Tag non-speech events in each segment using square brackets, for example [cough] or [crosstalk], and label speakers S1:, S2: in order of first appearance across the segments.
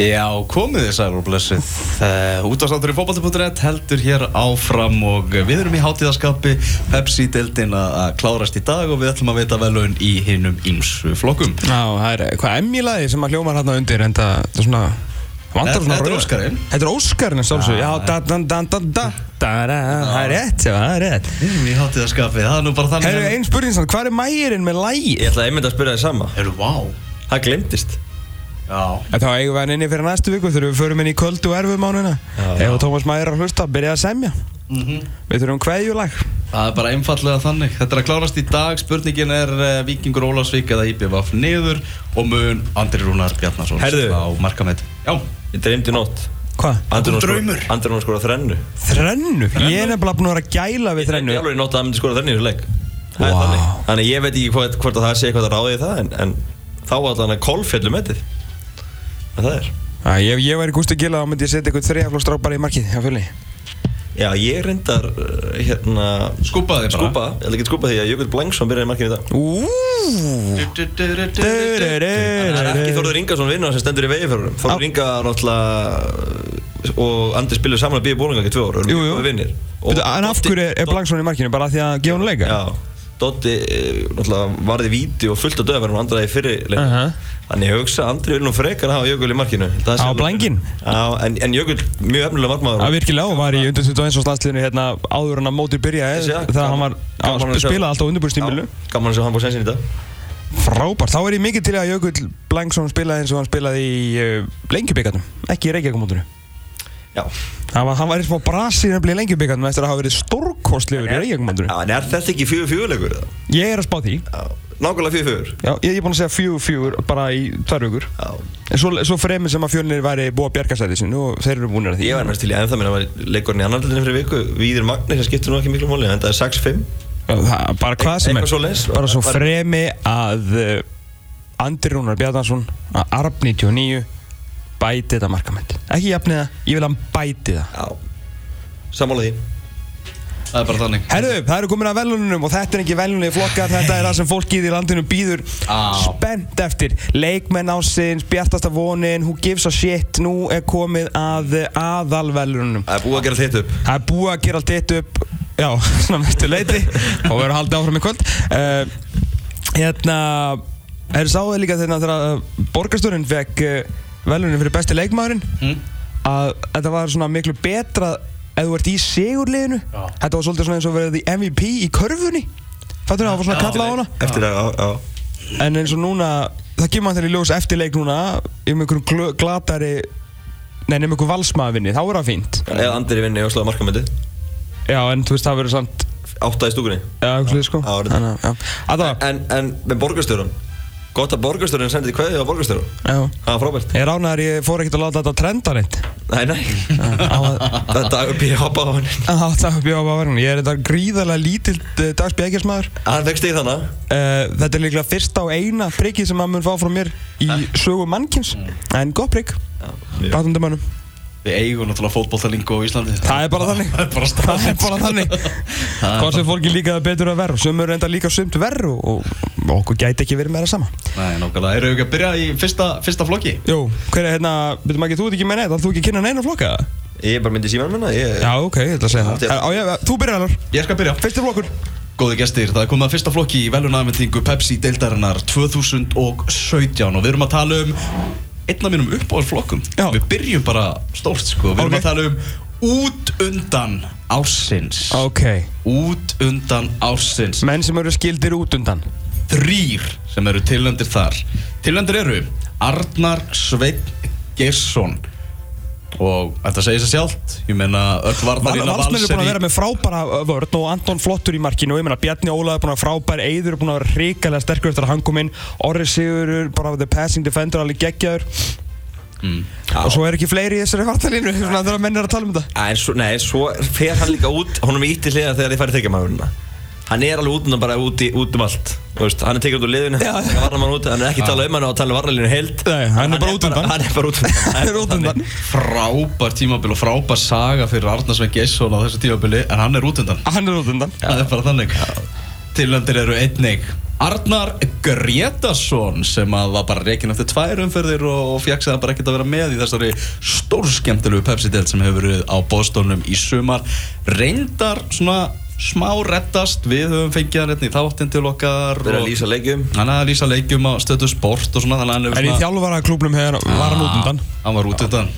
S1: Já, komið þið sæl og blessið. Útastáttur í fótballti.net heldur hér áfram og við erum í hátíðaskapi Pepsi-deltin að klárast í dag og við ætlum að veita velun í hinnum ímsu flokkum.
S2: Já, það er eitthvað emmilaði sem að hljómar hérna undir en það það er svona það vantar
S1: Þetta-
S2: svona
S1: þetta er
S2: rauð-
S1: Óskarinn.
S2: Þetta er Óskarinn að sjálfsög Já, da da da da da da da Það er rétt, já, það er rétt
S1: Við erum í hátíðaskapi, það er nú bara þannig.
S2: Herru, ein spurning samt, hvað er mægirinn með lægið?
S3: Ég ætlaði einmitt að spyrja þið sama
S1: Herru, vá.
S3: Það glimtist
S1: Já.
S2: En Þá eigum við hann inni fyrir næstu viku þegar við förum inn í kvöld og erfum mánuna Ef að Tómas Mægir er að hlusta, byrja að semja Við þurfum kveðjulag
S1: Mhm. Það er bara einfallega þannig. Þetta er að klárast í dag. Spurningin er uh, Vikingur Ólafsvík eða IBVF niður og mun Andri Rúnar Bjarnarsson
S3: Heyrðu.
S1: á markamæti. Já.
S3: Ég dreymdi í nótt
S2: Hvað?
S3: Andrún var
S1: Draumur.
S3: skora- Andrún var að skora þrennu
S2: Þrennu? Ég er nefnilega búin að vera að gæla við
S3: Ég dreymdi
S2: þrennu
S3: alveg í nótt að hann myndi skora þrennu í þessu leik Það er
S2: Vá.
S3: þannig Þannig ég veit ekki hvað, hvort að það sé eitthvað að ráði í það En, en þá var allan að kolfjallu metið En það er
S2: Æ, Ef ég væri gúst að gila þá myndi ég setja eitthvað þrejaflóstrák bara í markið, já, fulli.
S3: Já, ég reyndar uh, hérna
S1: Skúpaði þig bara.
S3: Skúpa Ég ætla ekki að skúpa því að Jökull Blangsson byrjaði í markinu í dag
S2: Ú,
S3: En það er ekki
S2: Du-du-du-du-du.
S3: Þorður Ingarsson vinnur sem stendur í vegi fyrir honum Þorður
S2: Á.
S3: Inga náttúrulega og Andri spilur saman að býja bólinga ekki tvö ára
S2: Jú, jú.
S3: vinnir
S2: Bíddu, En af hverju er, er Blangsson í markinu? Bara af því að gefa hún leika?
S3: Já, Dotti eh, náttúrulega varði víti og fullt á döðverðum andraði fyrri leik
S2: Aha.
S3: Þannig ég hugsa að Andri vil nú frekar hafa Jökul í markinu Það
S2: Á
S3: sé alveg-
S2: blænginn?
S3: Já, en, en Jökul mjög efnilega
S2: Það
S3: markmaður
S2: er virkilega og var í undir 21. landsliðinu hérna áður en að mótið byrjaði
S3: Þessi, já,
S2: þegar hann var
S3: gaman
S2: að
S3: að sjá.
S2: spila alltaf á undirbúrstímilu.
S3: Já, Gaman að sjá hann búið sensin í dag
S2: Frábært, þá er ég mikið til að Jökull Blangsson spilaði eins og hann spilaði í uh, lengjubikarnum, ekki í Reykjavíkumótinu.
S3: Já,
S2: Hann var, hann var í smá brasi nefnilega í lengjubikarnum eftir að hafa verið stórkostlegur í
S3: Já,
S2: Reykjavíkumótinu.
S3: en er þetta ekki fjögur fjögur leikur? eða?
S2: Ég er að spá því.
S3: Já, Nákvæmlega fjögur fjögur
S2: Já, ég ég er búinn að segja fjögur fjögur bara í tvær vikur.
S3: Já,
S2: En svo, svo fremur sem að fjölnir væri búið að bjarga sæti sinu og þeir eru búinir að því.
S3: Ég var næst til í ennþá minna að leikurinn í annan hlutinni fyrir viku Víður Magni sem skiptir nú ekki miklu máli en það er 6-5
S2: Já, það- bara hvað sem er
S3: Eitthvað svoleiðis.
S2: bara svo
S3: Bara-
S2: fremi að uh, Andri Rúnar Bjarnarsson að Arp 99 bæti þetta markament ekki jafnið það, ég vil að hann bæti það
S3: Já, sammála því
S1: Það er bara þannig.
S2: Herðu, það eru komin að velunum og þetta er ekki velunlega flokkar, þetta er það sem fólkið í landinu býður
S1: Á.
S2: spennt eftir leikmenn ásins, bjartasta vonin who gives a shit, nú er komið að eh, aðalvelunum
S3: Það er búið að gera þitt upp
S2: Það er búið að gera allt eitt upp Já, [laughs] svona mestu leiti Og við erum haldið áfram í kvöld uh, Hérna Er sáðið líka þegar þegar borgarstjórinn fekk uh, velunin fyrir besti leikmaðurinn
S1: Mm.
S2: að þetta var svona miklu betra ef þú ert í sigurliðinu
S1: Já.
S2: Þetta var svolítið svona eins og verið í MVP í körfunni Fattur það var svona
S1: Já,
S2: kallað á
S1: ég
S2: hana
S3: Eftir að, já, já
S2: En eins og núna, það kemur hann til í ljós eftir leik núna um einhverjum gl- glatari Nei, nefnum einhverjum valsmaðvinni, þá er það fínt
S3: Eða Andri vinni og slá markamöndi
S2: Já, en þú veist, það verður samt
S3: Átta í stúkunni
S2: Já, eitthvað slíð sko
S3: Já, orðið.
S2: Þannig að- já. Að það
S3: En, en með borgarstjórun Gott að borgarstjórun sendið kveðið á borgarstjórun
S2: Já
S3: Það var frábært
S2: Ég ránaður, ég fór ekkert að láta þetta trenda neitt
S3: Nei, nei
S2: [laughs] Á að-
S3: Þetta upp ég hoppa á hann
S2: á að það bjóða á verðinu Ég er þetta gríðarlega lítill eh, dagsbyggjasmaður
S3: Hann vexti í þannig
S2: uh, Þetta er líklega fyrsta og eina prikið sem maður mun fá frá mér í sögu mannkins En gott prikk Bátundum önum
S1: Við eigum náttúrulega fótbolltalingu á Íslandi.
S2: Það er bara þannig
S1: Það er bara
S2: Það er
S1: staðið.
S2: bara þannig Hvað sem fólki líka það betur að verð Sumur reynda líka sumt verð og, og okkur gæti ekki verið meira sama
S1: Nei, nákvæmlega. Erum við ekki að byrja í fyrsta, fyrsta flokki?
S2: Jú, hver er hérna Betur maður ekki, þú ert ekki með neitt Það þú ekki að kynna neina flokka eða?
S3: Ég er bara myndið síman minna Ég
S2: Já, ok, ég ætla að segja það
S3: Já.
S2: Á, já, Þú byrjar alveg
S1: Ég skal byrja.
S2: Fyrsti flokkur
S1: Góði gestir, það er komið að fyrsta flokki í velunaðmyndingu Pepsi deildarinnar 2017 og við erum að tala um einn af mínum uppáðarflokkum.
S2: Já.
S1: Við byrjum bara stórt sko, við erum
S2: Ok.
S1: að tala um út undan ársins.
S2: Ok
S1: Út undan ársins.
S2: Menn sem eru skildir út undan
S1: Þrýr sem eru tilöndir þar. Tilöndir eru Arnar Sveinn Gesson og þetta segir sér sjálft, ég meina öll varnar
S2: Valsmenn eru búin að vera með frábæra uh, vörn og Anton Flottur í markinu og ég meina Bjarni Óla er búin að vera frábær Eiður er búin að vera hrikalega sterkur eftir að hann kom inn Orri Sigur er bara the passing defender alveg geggjaður
S1: Mm.
S2: og svo er ekki fleiri í þessari vartalínu svona þegar menn er að tala um þetta
S3: En svo, nei, svo fer hann líka út Honum er ítt í hliða þegar ég færi tekið maðurina Hann er alveg út undan bara út, í, út um allt Þú veist, Hann er tekið út úr liðinu
S2: Já.
S3: Hann er varnamann út Hann er ekki talað um hann og talað um varnalínu heilt
S2: Nei, hann er bara út undan.
S3: Hann er bara út undan
S2: Það er út undan
S1: frábær tímabil og frábær saga fyrir Arnar Svein Gesson á þessu tímabili en hann er út undan
S2: Hann er út undan
S1: það er bara þannig tilöndir eru einnig Arnar Gretarsson sem að var bara reikinn eftir tvær umferðir og, og fjaxaði bara ekkert að vera með í þessari stórskemmtilegu Pepsi-delt sem hefur verið á bóðstofnum í sumar reyndar svona smá reddast við höfum fengið hann hérna í þáttin til okkar
S3: Verið
S1: og-
S3: að lýsa leikjum
S1: hann er að lýsa leikjum á stötu sport og svona þannig að hann
S2: En í þjálfvara klubnum hefur var hann út undan
S1: Ah, Hann var út undan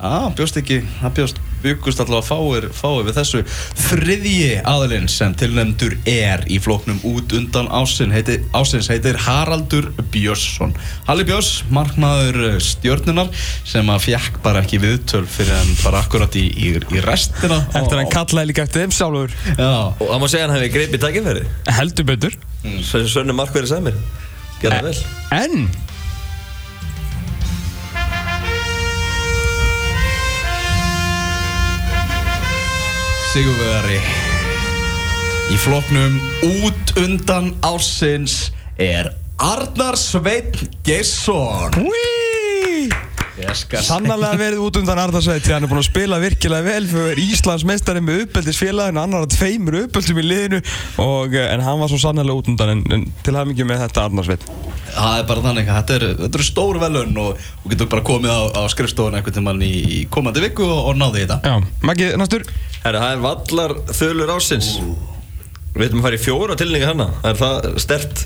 S1: ah, bjóst ekki, hann bjóst byggust allavega fáir, fáir við þessu Þriðji aðalinn sem tilnefndur er í flóknum út undan ásin heiti, ásins heitir Haraldur Björnsson Halli Björns, markmaður eh, stjörnunar sem að fjekk bara ekki viðtöl fyrir hann bara akkurat í, í, í restina
S2: Eftir að hann kallaði líka eftir þeim sjálfur
S1: Já,
S3: Og það má segja að hann hefði greipið takkifæri
S2: Heldur betur
S3: Svo Sönnu Markverði sagði mér Gerði það vel
S2: En
S1: Sigurvegari Í floknum út undan ásins er Arnar Sveinn Geirsson
S2: Whee!
S1: Ég skal
S2: Sannarlega verið út undan Arðarsveit því hann er búin að spila virkilega vel fyrir Íslands meistari með uppeldisfélaginu annar að tveimur uppeldum í liðinu og, eh, en hann var svo sannarlega út undan en, en til hafingjum með þetta Arðarsveit
S1: Það er bara þannig að þetta eru þetta er stór velun og þú getur bara komið á, á skrifstofun einhvern tímann í í komandi viku og, og náði þetta
S2: Já, Maggi, næstur
S3: Herra, það er vallar þölur ásins Við ætlum að fara í fjóra tilningar hana Það er það stert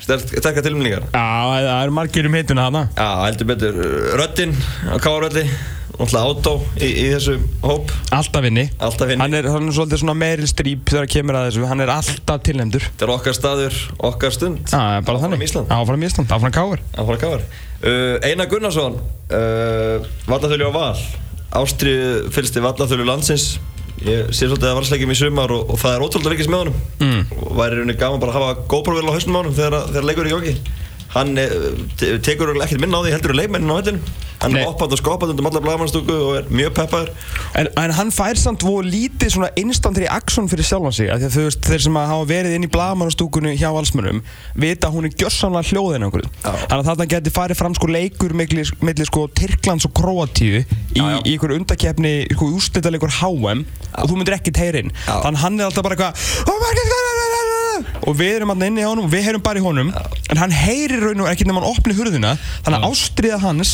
S3: Stert takka tilningar
S2: Já, það eru margir um hituna hana
S3: Já, heldur betur Röddin á Káröldi Náttúrulega átó í, í þessum hóp
S2: Alltaf inni
S3: Alltaf inni.
S2: Hann er, hann er svolítið svona meiril strýp þegar kemur að þessu Hann er alltaf tilnefndur
S3: Þetta er okkar staður, okkar stund
S2: Já, bara
S3: Áfram
S2: þannig
S3: Ísland.
S2: Áfram Ísland, áfram Káur
S3: Að fara að káður uh, Einar Gunnarsson uh, Vallathölu á Val Ástrið fylgsti Vallathölu landsins Ég sé svolítið að valsleikjum í sumar og, og það er ótrúlega vikist með honum mm. og væri rauninni gaman bara að hafa GoPro-vél á hausnum á honum þegar, þegar leikur er í gangi Hann eh, te- tekur örugglega ekkert minna á því heldur en leikmennin á hættinu Hann
S2: Nei.
S3: er oppand og skopand undir allar blagamannstúku og er mjög peppaður
S2: En, en hann fær samt voru lítið svona instantri aksjón fyrir sjálfan sig af því að þú veist, þeir sem að hafa verið inn í blagamannastúkunni hjá alsmönum vita að hún er gjössamlega hljóðin okkur þannig að þarna geti farið fram sko leikur milli, milli sko Tyrklands og Kroatíu í,
S3: Já, já.
S2: í sko, ykkur undakeppni, ykkur úrslitaleikur HM og þú myndir ekki teyrinn
S3: Já.
S2: þannig að hann er alltaf bara eitthvað "Oh my God, la, la, la, la, la." og við erum alltaf inni í honum og við heyrum bara í honum en hann heyrir raun og ekki nema hann opni hurðina þannig að ástriða hans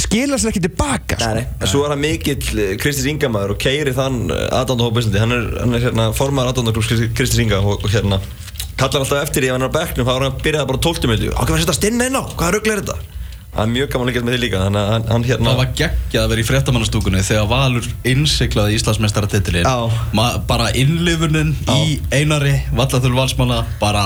S2: skilast ekki tilbaka sko.
S3: En svo er hann mikill eh, Kristins Ingamæður og keiri þann aðdándahóp Íslandi hann er, hann er hérna, formaður aðdándaklubs Kristins Inga og, og hérna kallar alltaf eftir í ef hann er á bekknum þá er hann að byrjaði bara 12 milju hann kan setja stinn inn á, hvaða rugl er þetta? Það er mjög gaman að leikast með því líka þannig að hann, hann hérna
S1: Það var geggjað að vera í fréttamannastúkunni þegar Valur innsiklaði Íslandsmeistaratitilinn
S3: Já.
S1: Ma- Bara innlifunin í einari vallathul valsmanna bara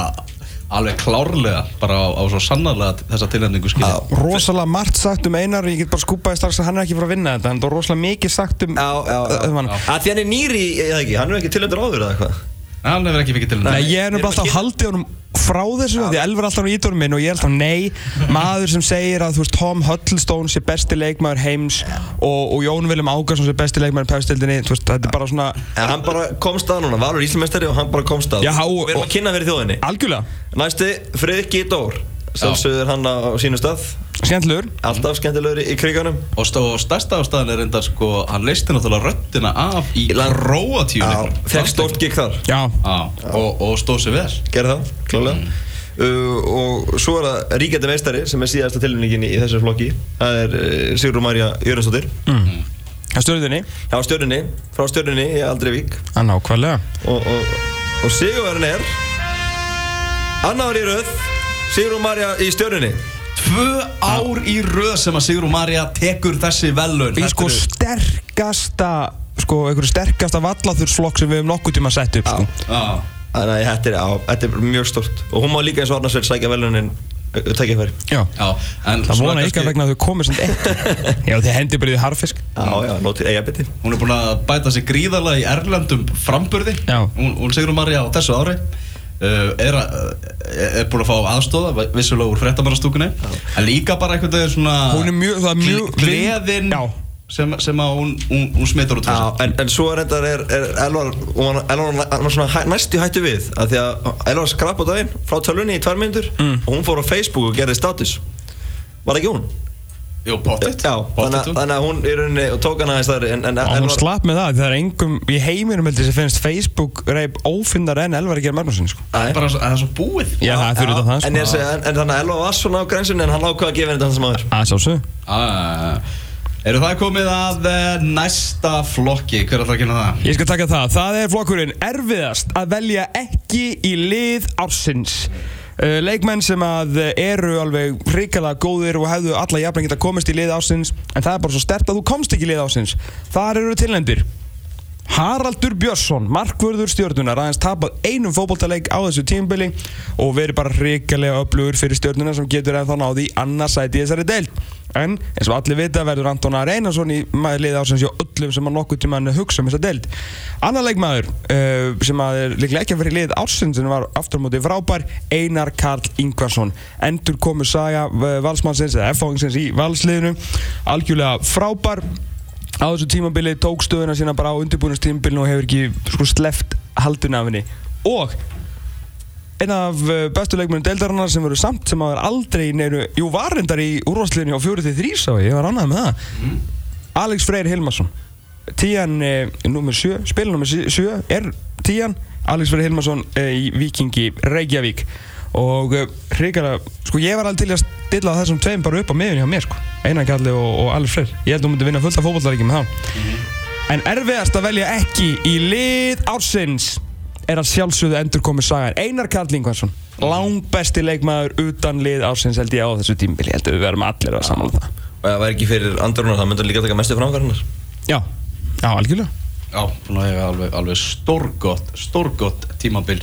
S1: alveg klárlega bara á, á svo sannarlega þessa tilnefningu skilja
S3: Já.
S2: rosalega margt sagt um Einar ég get bara skúpaði strax að hann er ekki frá að vinna þetta en það er rosalega mikið sagt um,
S3: Já, já, já.
S2: um hann
S3: Að því hann er nýri, eða ekki, hann er ekki tilöndur áður eða eitthvað
S1: Nei, Hann hefur ekki fikið tilnefningu
S2: Nei, ég er
S3: Ég er
S2: nefnilega alltaf
S3: bara
S2: að haldi honum frá þessu því Elfur er alltaf á ídórum minn og ég er alltaf nei maður sem segir að þú veist Tom Huddlestone sé besti leikmaður heims og, og Jón Viljum Ágarsson sé besti leikmaður í pefstildinni þú veist þetta er bara svona
S3: En hann bara komst að núna, Valur Íslamestari og hann bara komst að
S2: Já, og-
S3: Við erum að kynna fyrir þjóðinni
S2: algjörlega
S3: Næsti, Friðki Dór Sjálfsögður hann á sínu stað
S2: skemmtilegur
S3: Alltaf skemmtilegur í, í kriganum
S1: Og stó, stærsta ástæðan er enda sko, hann leisti náttúrulega röddina af í
S3: Land-
S1: Róatíu
S3: Fekk stórt gig þar
S2: já
S1: og, og stóð sér vel
S3: gerði það, klálega uh, og svo er það ríkjandi meistari sem er síðasta tilnefningin í þessar flokki það er uh, Sigrun Marja Jörgensdóttir
S2: mm. að stöðinni
S3: hjá stjörnunni, frá stjörnunni í Aldrivík
S2: að nákvæmlega
S3: og, og, og Sigurverðin er annar í röð Sigrun Marja í stjörnunni
S1: Tvö ár í röð sem að Sigrún Marja tekur þessi velun
S2: í sko sterkasta sko einhverju sterkasta vallaþursflokk sem við hefum nokkuð tíma sett upp sko.
S1: Já,
S3: þannig að þetta er, á, þetta er mjög stort og hún má líka eins og Arnarsveld sækja velunin tækifæri
S2: já
S1: já en
S2: Það
S1: svona
S2: vona ykkar
S1: kannski-
S2: vegna að þau komið samt ekki [laughs] Já þið hendi bara í því harfisk
S3: Já, já, nótið eiga beti
S1: Hún er búin að bæta sig gríðarlega í erlendum framburði
S2: Já.
S1: Hún, hún Sigrún Marja á þessu ári Uh, er, að, eh, er búin að fá aðstóða vissulega úr frettamannastúkunni en líka bara einhvern veginn svona
S2: Hún er mjög- það er mjög-
S1: gleðin
S2: Já.
S1: sem, sem að hún, hún, hún smitur út fyrir
S3: Já,
S1: sig.
S3: en, en svo er þetta er, er Elvar, og hann, Elvar hann var svona hæ, næstu hættu við að því að Elvar skrap á
S2: Mm.
S3: daginn frá tölunni í tvær myndur og hún fór á Facebook og gerði status var það ekki hún?
S1: Jú, pottet
S3: Já, þannig að- þannig að hún í rauninni tók hann aðeins þar en, en,
S2: Og
S3: en
S2: hún slapp með það, því það er engum í heiminum heldur sem finnst Facebook reyp ófinnar en Elvar Geir Magnússon sko.
S3: Nei.
S1: Bara svo- að það er svo búið
S2: Já, það er fyrir utan það
S3: en, ég
S2: sko.
S3: segi, en, en þannig að Elva var svona á grensunni en hann ákvað að gefa henni þetta hans maður
S2: Að sjálfsögðu.
S1: Ah, Eru það komið að eh, næsta flokki? Hver ætlar að kynna það?
S2: Ég skal taka það, það er flokkurinn erfiðast að velja ekki í lið ársins uh, Leikmenn sem að eh, eru alveg hrikalega góðir og hefðu alla jafnlega geta komist í lið ársins En það er bara svo stert að þú komst ekki í lið ársins Þar eru tilnendir Haraldur Björnsson, markvörður stjórnunar, aðeins tapað einum fótboltaleik á þessu tímbili og verið bara hrikalega öflugur fyrir stjórnunar sem getur ennþá náði í annarsæti í þessari deild. En eins og allir vita verður Anton Ari Einarsson í maður liða ásins hjá öllum sem að nokkuð tíma hann hugsa um þessa deild. Annar leikmaður uh, sem að er líklega ekki að vera í lið ársins en var aftur á móti frábær, Einar Karl Ingvarsson. Endur komu saga eh, valsmannsins eða F-fóðingsins í valsliðinu, algjörlega frábær á þessu tímabili tók stöðuna sína bara á undirbúinastímabilinu og hefur ekki sko sleft haldun af henni og einn af eh, bestu leikmennum deildarinnar sem verður samt sem að vera aldrei í neyru jú var reyndar í úrvarsliðinu á 43 sá ég, ég var annað með það Alex Freyr Hilmarsson tíjan eh, nummer 7, spil nummer 7 er tíjan Alex Freyr Hilmarsson eh, í Vikingi Reykjavík og eh, hrikalega, sko ég var alveg til í að stilla þessum tveim bara upp á miðun hjá mér sko Einar Kalli og, og Alex Freyr ég held að hún myndi vinna fullt af fótballaríki með þá en erfiðast að velja ekki í lið ársins er að sjálfsögðu endur komið sagan Einar Karl Ingvarsson langbesti leikmaður utan lið ársins held ég á þessu tímbili, held að við verðum allir að samanlega það
S3: og ef það væri ekki fyrir andrunar þá myndi hann líka taka mestu framkvæmnar
S2: já, já, algjörlega
S1: Já, búin að eiga alveg, alveg stórgott, stórgott tímabil.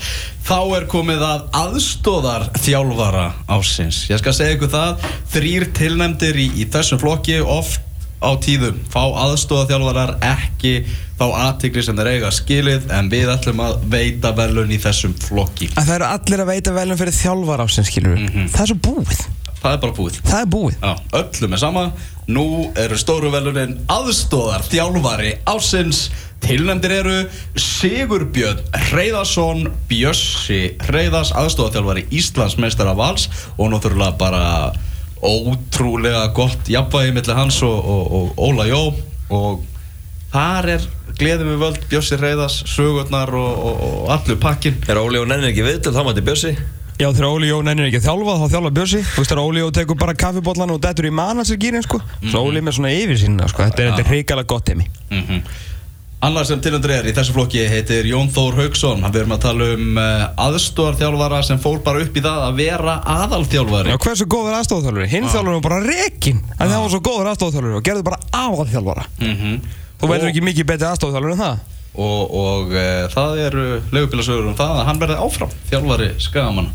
S1: Þá er komið að aðstóðar þjálfara ásins. Ég skal segja ykkur það, þrýr tilnæmdir í, í þessum flokki oft á tíðum. Fá aðstóðar þjálfarar ekki þá aðtikli sem þeir eiga skilið en við ætlum að veita velun í þessum flokki.
S2: að það eru allir að veita velum fyrir þjálfar ársins skilur við, það er svo búið
S1: Það er bara búið.
S2: það er búið
S1: Já, öllum er sama Nú eru stóru velunin aðstóðar þjálfari ásins Tilnæmdir eru Sigurbjörn Reyðarsson Bjössi Reyðars aðstóðarþjálfari Íslandsmeistara vals og náttúrulega bara ótrúlega gott jafnvægi millir hans og, og, og Óla Jó og þar er gleðum við völd Bjössi Reyðars, sögurnar og, og, og allur pakkin
S3: er Óli og Nenni ekki viðtöl þá mætti Bjössi
S2: já þegar Óli Jó nennir ekki að þjálfa þá þjálfa Björsi þú veist þegar Óli Jó tekur bara kaffibotlan og dettur í manasergýrin sko svo Óli er með svona yfir sína sko þetta er, þetta er hrikalega gott heimi
S1: mm Annar sem tilöndur er í þessu flokki heitir Jón Þór Haugsson Við erum að tala um uh, aðstóðarþjálfara sem fór bara upp í það að vera aðalþjálfari
S2: já hversu góður aðstofþjálfur hinn þjálfur var bara rekin en það var svo góður aðstofþjálfur og gerðu bara aðalþjálfara
S1: mm
S2: þú verður ekki mikið betri aðstofþjálfur en það
S1: Og, og uh, það eru legubilasögur um það að hann verði áfram þjálfari skagamann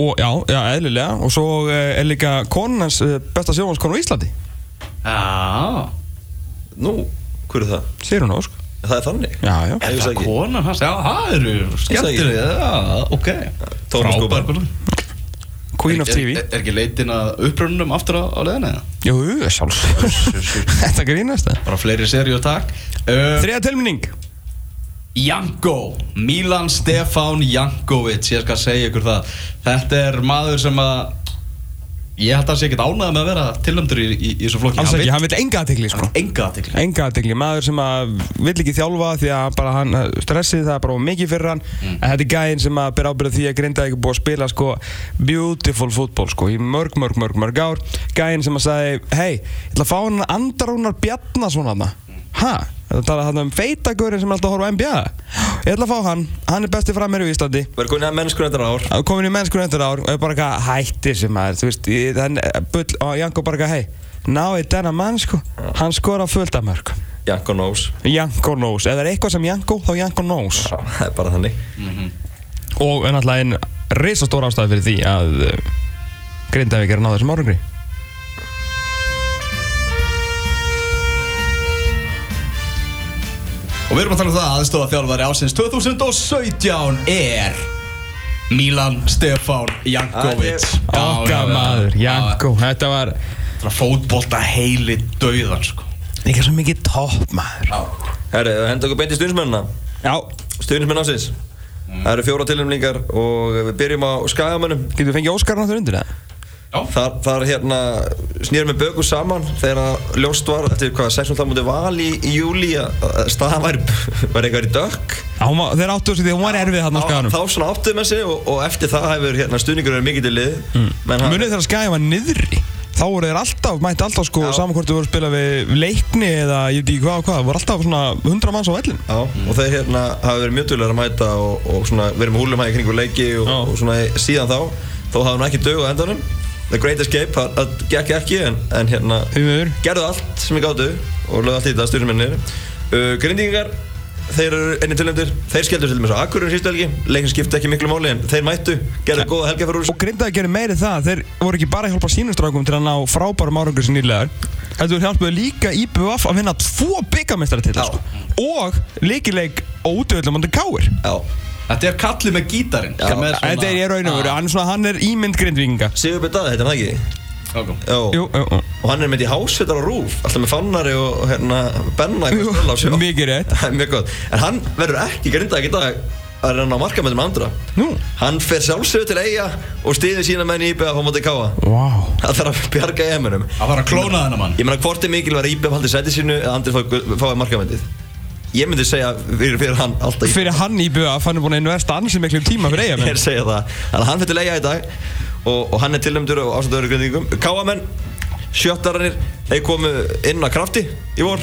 S2: og já, já eðlilega og svo eh, er líka konans besta sjónvanskonu á Íslandi
S1: Já,
S3: nú, hver er það?
S2: sér hún ósk
S3: það er þannig
S2: já, já
S3: Ég
S1: er
S3: vissi
S1: það
S3: ekki.
S1: konan hans? Já, það eru skemmtileg Já, ok
S3: Thomas
S1: Frábær
S3: Cooper.
S1: konan.
S2: Queen of
S1: Er-
S2: TV
S1: Er, er ekki leitin að upprönnum aftur á, á leðinni? eða?
S2: Jú, sjálfs
S1: [laughs]
S2: Þetta grínast það
S1: Bara fleiri serjur takk uh,
S2: Þriða tilmynding
S1: Janko, Milan Stefán Jankovic, ég skal segja ykkur það Þetta er maður sem að Ég held að það sé ekkert ánægð með að vera tilnæmdur í, í, í þessu flokki
S2: Alls ekki, hann vil enga aðtegli sko
S1: vill enga aðtekli
S2: Enga aðtegli, maður sem að vill ekki þjálfa því að bara hann eh, stressið það er bara of mikið fyrir hann en þetta er gæðin sem að bera ábyrða því að grinda ekki búið að spila sko beautiful fútból sko í mörg, mörg, mörg, mörg ár gæðin sem að sagði, hei, ég ætla að fá hann Andarónar Bjarnason hann ha, þetta talaði hann um feitagörin sem er alltaf að horfa á NBA ég ætla að fá hann, hann er besti framherju í Íslandi
S3: verður komin að mennskunni þetta ár
S2: að komin í mennskunni eftir ár og er bara eitthvað hættir sem maður, þú veist, ég- hann, eh, bull, og Janko bara eitthvað, hei, náði þennan mann sko, hann skora fullt af mörg.
S3: Janko Nós
S2: Janko knows, ef það er eitthvað sem Janko, þá Janko knows.
S3: það er bara þannig
S2: Og er náttúrulega einn risastór ástæði fyrir því að uh, Grindavík er að ná þessum árangri.
S1: Og við erum að tala um það að stóða þjálfari ásins 2017 er Milan Stefán Jankovic
S3: Ah,
S2: Okka maður, Janko, þetta var
S1: Það fótbolta heili dauðan sko
S2: líka svo mikið topp maður.
S3: herru, henda okkur beint í stuðnismennina
S2: Já,
S3: stuðnismenn ásins það eru fjóra tilnæmlingar og við byrjum á skagamönnum
S2: getur við fengið Óskar náttúrulega undir það?
S1: Já,
S3: Þar, þar hérna snýrum með bökum saman þegar að ljóst var eftir hvað 16. múti val í, í júli að að staðan [laughs] var, var eitthvað í dökk
S2: Hún var- Þeir áttu þessu því að hún var erfið þarna á
S3: þá,
S2: skaganum
S3: þá svona áttuðum þessi og, og eftir það hefur hérna, stuðningur verið mikið til lið menn
S2: Mm. Munið þegar skagin var niðri Þá voru þeir alltaf, mætti alltaf sko
S3: Já.
S2: saman hvort þau voru að spila við leikni eða ég veit ekki hvað og hvað voru alltaf svona 100 manns á vellin
S3: Já, og þeir hérna hafa verið mjög duglegar að mæta og, og svona verið með húlum hæg kringu leiki og,
S2: Já.
S3: og svona síðan þá þó hafði hann ekki dög á endanum The Great Escape, það- það gekk ekki en, en hérna
S2: Því miður.
S3: gerðu allt sem ég gáttu og lögðu allt í þetta stjórnmennir uh, Grindingar, þeir eru enni tilnefndir þeir skelldu sér með svo akkurinn sístu helgi leikin skipti ekki miklu máli en þeir mættu gerðu góða helgi fyrir úr
S2: Og grindaði gerir meiri það, þeir voru ekki bara að hjálpa sínum strákum til að ná frábærum árangur sem nýlegar Heldur hjálpuðu líka IBF að vinna tvo byggamestara til
S3: Já.
S2: sko. Og leikileik ódöðlega mútið káir
S3: Já,
S1: Þetta er kallið með gítarinn sem er svona-
S2: Þetta er ég raun og veru,
S1: Ah,
S2: hann, er svona- hann er ímynd grindvíkinga
S3: Sigur Bedaði, heitir hann það ekki?
S1: ok.
S3: Jó,
S2: Jú, jú, jú.
S3: og hann er með í hásveitar á rúf alltaf með fannari og hérna benna eitthvað
S2: Jú,
S3: stölla á sjó
S2: [laughs] mikið rétt.
S3: Það er mjög gott en hann verður ekki grindað í dag að reyna á markamöndum andra
S2: Nú.
S3: hann fer sjálfsögur til eiga og stýðir sína menn í IBF á móti káa
S2: Vá
S3: það þarf að bjarga emunum
S1: Að fara að klóna þennan mann
S3: ég meina hvort er mikil var IBF haldið sæti sínu eða andri fái- fái markamöndið ég myndi segja fyrir, fyrir hann alltaf
S2: Fyrir hann í BF, hann er búin að investa ansi miklum tíma fyrir
S3: Ég er
S2: eigamenn
S3: að segja það Þannig að hann fyrir leiða í dag og, og hann er tilnæmdur á ástættu öðru grindingum Káamenn, sjöttararnir Þeir komu inn á krafti í vor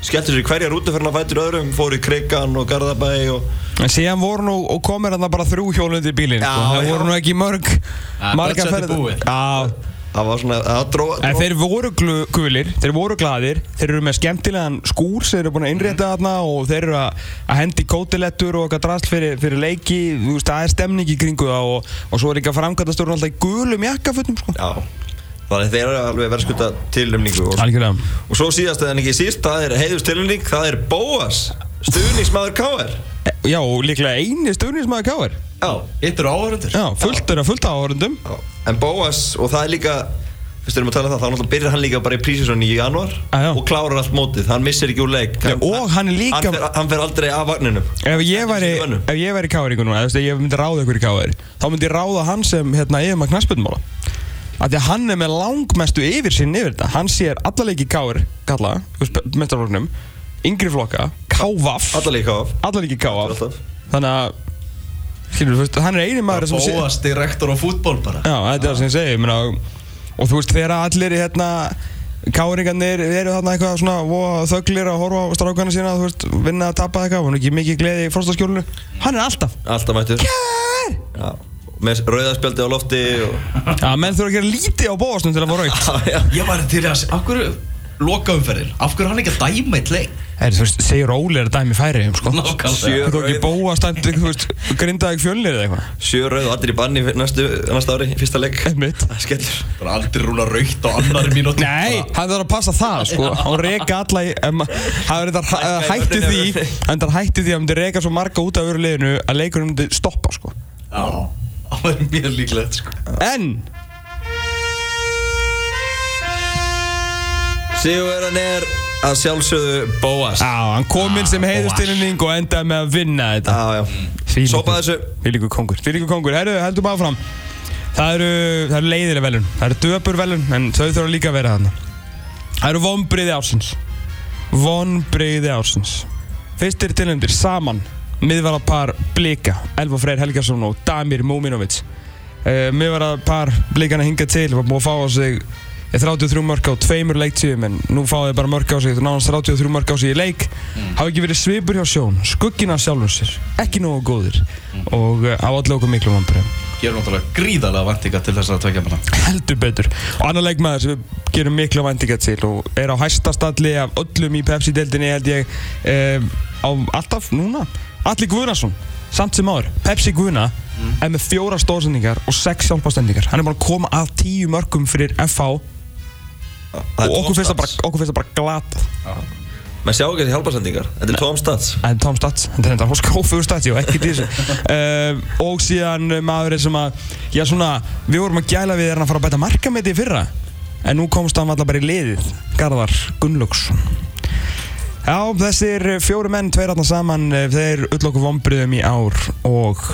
S3: Skelltu sér í hverja rútu fyrir hann að fætur öðrum Fóru í Krikan og Garðabæ og
S2: En síðan voru nú, og komir hann bara þrjú hjólundi í bílinn
S3: Já,
S2: sko. Það
S3: já.
S2: voru nú ekki mörg
S1: Ja,
S2: Margar
S1: budgetið
S2: ferðir
S1: búið.
S2: Já,
S3: Það var svona, það dró,
S2: en
S3: dró
S2: þeir voru glu- gulir Þeir voru gladir, þeir eru með skemmtilegan skúr sem þeir eru búin að innrétta þarna og þeir eru að að hendi kótilettur og eitthvað drast fyrir, fyrir leiki, þú veist, það er stemning í kringu það og, og svo er líka framkvæmtastjórn alltaf í gulum jakkafutum sko.
S3: Já Þannig að þeir eru alveg verðskulda tilnæmningu og,
S2: Algjörlega
S3: og svo síðast eða en ekki síst Það er heiðust tilnæmning, það er Bóas Stuðningsmaður Káar
S2: E, Já, og líklega eini stjórnismæði káir
S3: Já
S1: Þetta eru áhörundur
S2: Já, fullt eru að fullt áhörundum
S3: Já, En Bóas, og það er líka Fyrst við erum að tala um það, þá náttúrulega byrjar hann líka bara í prísisónu í januar
S2: Ah, já.
S3: og klárar allt mótið, hann missir ekki úr leik
S2: Já, og hann er líka-
S3: Hann fer, hann fer aldrei af vagninum
S2: Ef ég væri,
S3: Þetta er sínum
S2: ef ég væri káringur núna, ef ég myndi ráða ykkur í káir þá myndi ég ráða hann sem hérna yfir maður knaspundmála Því að hann er með langmestu yfir sinn yfir þetta Hann sér allalegi káir, kalla, mestarfloknum yngri flokka, kávaf
S3: Alla líka af
S2: allalegi kávaf
S3: Alltaf.
S2: Þannig að, skilur þú veist, hann er eini maður sem sér
S1: Bóast direktor á fútból bara
S2: Já, þetta er það sem ég segi, ég meina, og þú veist þegar allir í hérna Káringarnir eru þarna eitthvað svona voða þöglir að horfa á strákana sína þú veist, vinna að tapa eitthvað, hann er ekki mikið gleði í frostaskjólinu, hann er alltaf
S3: Alltaf mættur Já, með rauðaspjaldi á lofti og... [laughs]
S2: Já, menn þurfa að gera lítið á bóðastum til að fá raukt
S3: Já, já
S1: Ég var til að, af hverju lokaumferðin, af hverju er hann ekki að dæma eitt leik
S2: Herri, þú veist, segir Óli er að dæmi færi sko.
S1: Nákvæmlega
S3: Sjö.
S2: Þú tók ekki bóast, þú veist, grindaði fjölnir eða eitthvað
S3: Sjö rauð og allir í banni fyrir næstu, næsta ári, fyrsta leik
S2: Einmitt.
S3: Það er skellur
S1: Það er aldrei rúna raukt á annari mínúti
S2: Nei, hann þarf að passa það, sko Hann reka alla í, em, hann er þetta
S3: Hækka í
S2: hætti
S3: vörninni,
S2: því
S3: vörninni.
S2: Hann er hætti því að hann myndi reka svo marga út af öru liðinu að leikurinn myndi stoppa, sko
S1: Já, það var mjög líklegt sko
S2: En,
S3: Sigurverðan er að sjálfsögðu Bóas
S2: á, hann kom inn sem heiðustilning og endaði með að vinna þetta
S3: Já, já
S2: Fílíkur-
S3: Sopa þessu.
S2: Fílíkur kongur Fílíkur kongur Herru, heldum áfram Það eru, það eru leiðilega velun Það eru döpur velun En þau þurfa líka að vera þarna Það eru vonbriði ársins Vonbriði ársins Fyrstir tilhendir saman Miðvarapar Blika Elfa Freyr Helgarsson og Damir Múminovic uh, Miðvarapar Blikana hingað til Var búið að fá á sig eh, 33 mörg á tveimur leiktíðum en nú fáið þið bara mörg á sig þú nánast 33 mörg á sig í leik hafa ekki verið svipur hjá sjón skuggina sjálfum sér, ekki nógu góðir og uh, á allu okkur miklu vambröðum
S1: Ég er náttúrulega gríðarlega vantinga til þess að tvekja manna
S2: heldur betur og annar leikmaður sem við gerum mikla vendinga til og er á hæstastalli af öllum í Pepsi-deldinni held ég um, á alltaf núna Alli Guðnason, samt sem áður Pepsi Guðna
S3: Mm.
S2: er með fjóra stóðsendingar og sex hjálpastendingar hann er bara að koma að tíu mörgum fyrir FH
S3: Það er
S2: og okkur finnst það
S3: Tom
S2: bara,
S3: Stats.
S2: okkur finnst það bara glata
S3: Menn sjá ekki þessi hjálparsendingar Þetta er Tom Stats
S2: En Tom Stats, þetta er þetta hos Kófur Stats, já, ekki til þessu uh, Og síðan eh, maðurinn sem að, já svona, við vorum að gæla við er hann að fara að bæta markameti í fyrra En nú komst hann alltaf bara í liðið, Garðar Gunnlaugsson Já, þessir eh, fjóri menn, tveir aðna saman, eh, þeir ulloku vombriðum í ár og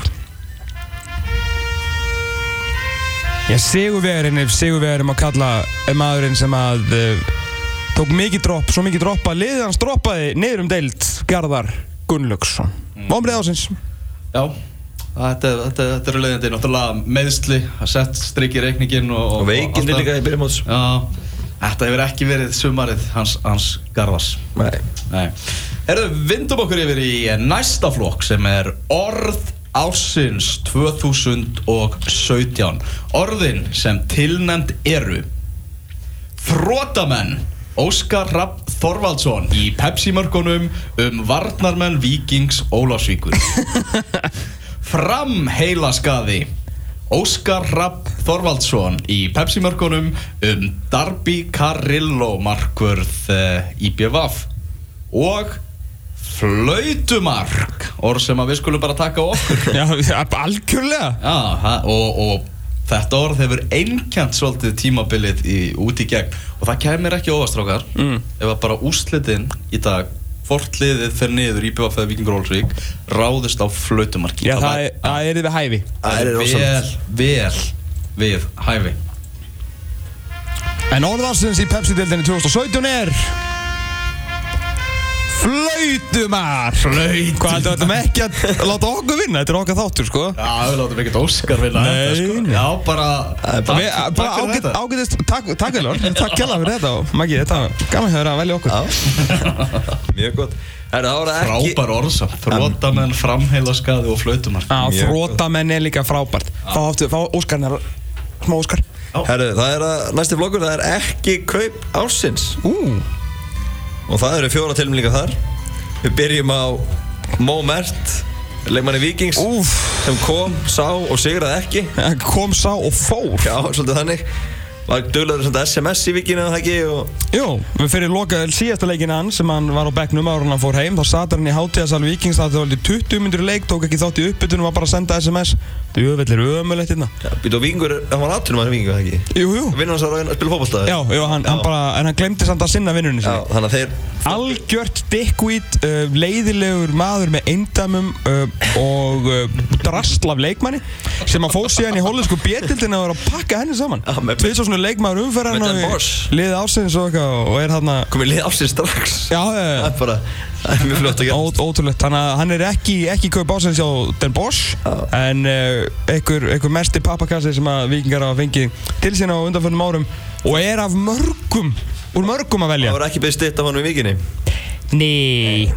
S2: Já, Sigurvegarinn er Sigurvegarinn má kalla er maðurinn sem að uh, tók mikið dropp, svo mikið dropp að liðið hans droppaði niður um deild Garðar Gunnlaugsson. Mm. Vomrið ásins.
S1: Já, þetta, þetta, þetta eru leiðindi Náttúrulega meðsli, að sett strikki í reikningin Og,
S3: Og
S1: allt
S3: veikindi
S1: það.
S3: líka í byrjum ás
S1: Já, þetta hefur ekki verið sumarið hans, hans Garðars
S3: Nei
S1: Nei Herðu, vindum okkur yfir í næsta flokk sem er orð ásins 2017 Orðin sem tilnæmt eru Þrótamenn Óskar Rapp Þorvaldsson í Pepsi-mörkunum um varnarmenn Víkings Ólafsvíkur Fram heilaskaði Óskar Rapp Þorvaldsson í Pepsi-mörkunum um Darby Carrillo markvörð eh, IBVF og flautumark orð sem að við skulum bara taka á okkur
S2: [laughs] Já, algjörlega.
S1: Já, ha- og, og þetta orð hefur einkjant svolítið tímabilið í, út í gegn og það kemur ekki óvastrákar mm. ef að bara úslitin í dag hvort liðið fer niður í BVF eða Víkingur Ólsvík ráðist á flautumarki
S2: Já, það, er- það er við hæfi.
S1: það er vel, vel við hæfi
S2: En orðarsins í Pepsi-deildinni 2017 er... Flautumar!
S1: Flautumark.
S2: Hvað heldur þetta með ekki að láta okkur vinna? Þetta er okkar þáttur, sko.
S1: Já, við látum ekkert Óskar vinna
S2: Nei,
S1: þetta, sko.
S2: nei.
S1: Já, bara,
S2: Takk, Eh, við, bara
S1: fyrir
S2: ágæt,
S1: þetta.
S2: ágætist, takk, takk Elvar, takk kjalla fyrir þetta og Maggi, þetta var gaman hjá þér að velja okkur
S3: [laughs] Mjög gott Herra, það var það ekki
S1: Frábær orðsam, þrótamenn, framheilaskaði og flautumark
S2: Já,
S3: Mjög
S2: þrótamenn er líka frábært Fá, aftur, fá Óskarnar, smá Óskar
S3: Herru, það er að, næsti flokkur, það er ekki kaup ársins
S2: Ú,
S3: Og það eru fjóra tilmlingar þar Við byrjum á Mo Mert Leikmanni Víkings
S2: úf,
S3: Sem kom, sá og sigraði ekki
S2: Eh, kom sá og fór
S3: Já, svolítið þannig Var duglegur samt að SMS í vikinu eða það ekki og...
S2: Jú, við fyrir loka síðasta leikin hann sem hann var á bekknum ára hann fór heim þá satur hann í hátíðasal Víkings það var 20 myndur leik, tók ekki þátt í uppbytunum var bara að senda SMS Djöfell er ömulegt hérna
S3: Já, býtu og Víkingur, hann var aðtunum að Víkingur það ekki
S2: Jú, jú,
S3: Vinnan hans að ræðin að spila fótballstæði
S2: já, já, hann, hann bara, en hann glemdi samt að sinna vinnunni sinni
S3: Já, þannig að þeir
S2: Algjört dikkvít, uh, leiðilegur maður með eindamum uh, og uh, drastl af leikmanni sem að fóð síðan í hollensku bétildin að vera að pakka henni saman
S3: Já, með-
S2: Tvið svo svona leikmaður umferðan
S3: Með Dan
S2: og
S3: Bosch.
S2: liðið ásins og eitthvað og- og er þarna
S3: komið lið ársins strax
S2: Já, já,
S3: Það
S2: já,
S3: er bara, það er mjög flott að gera
S2: Ó- ótrúlegt, þannig að hann er ekki, ekki kaup ásins á Den Bosch en uh, einhver, einhver mesti pappakassi sem að vikingar hafa fengið til sína á undanförnum árum og er af mörgum, úr mörgum að velja
S3: Það var ekki beðið stytt af hann í vikinni
S2: Nei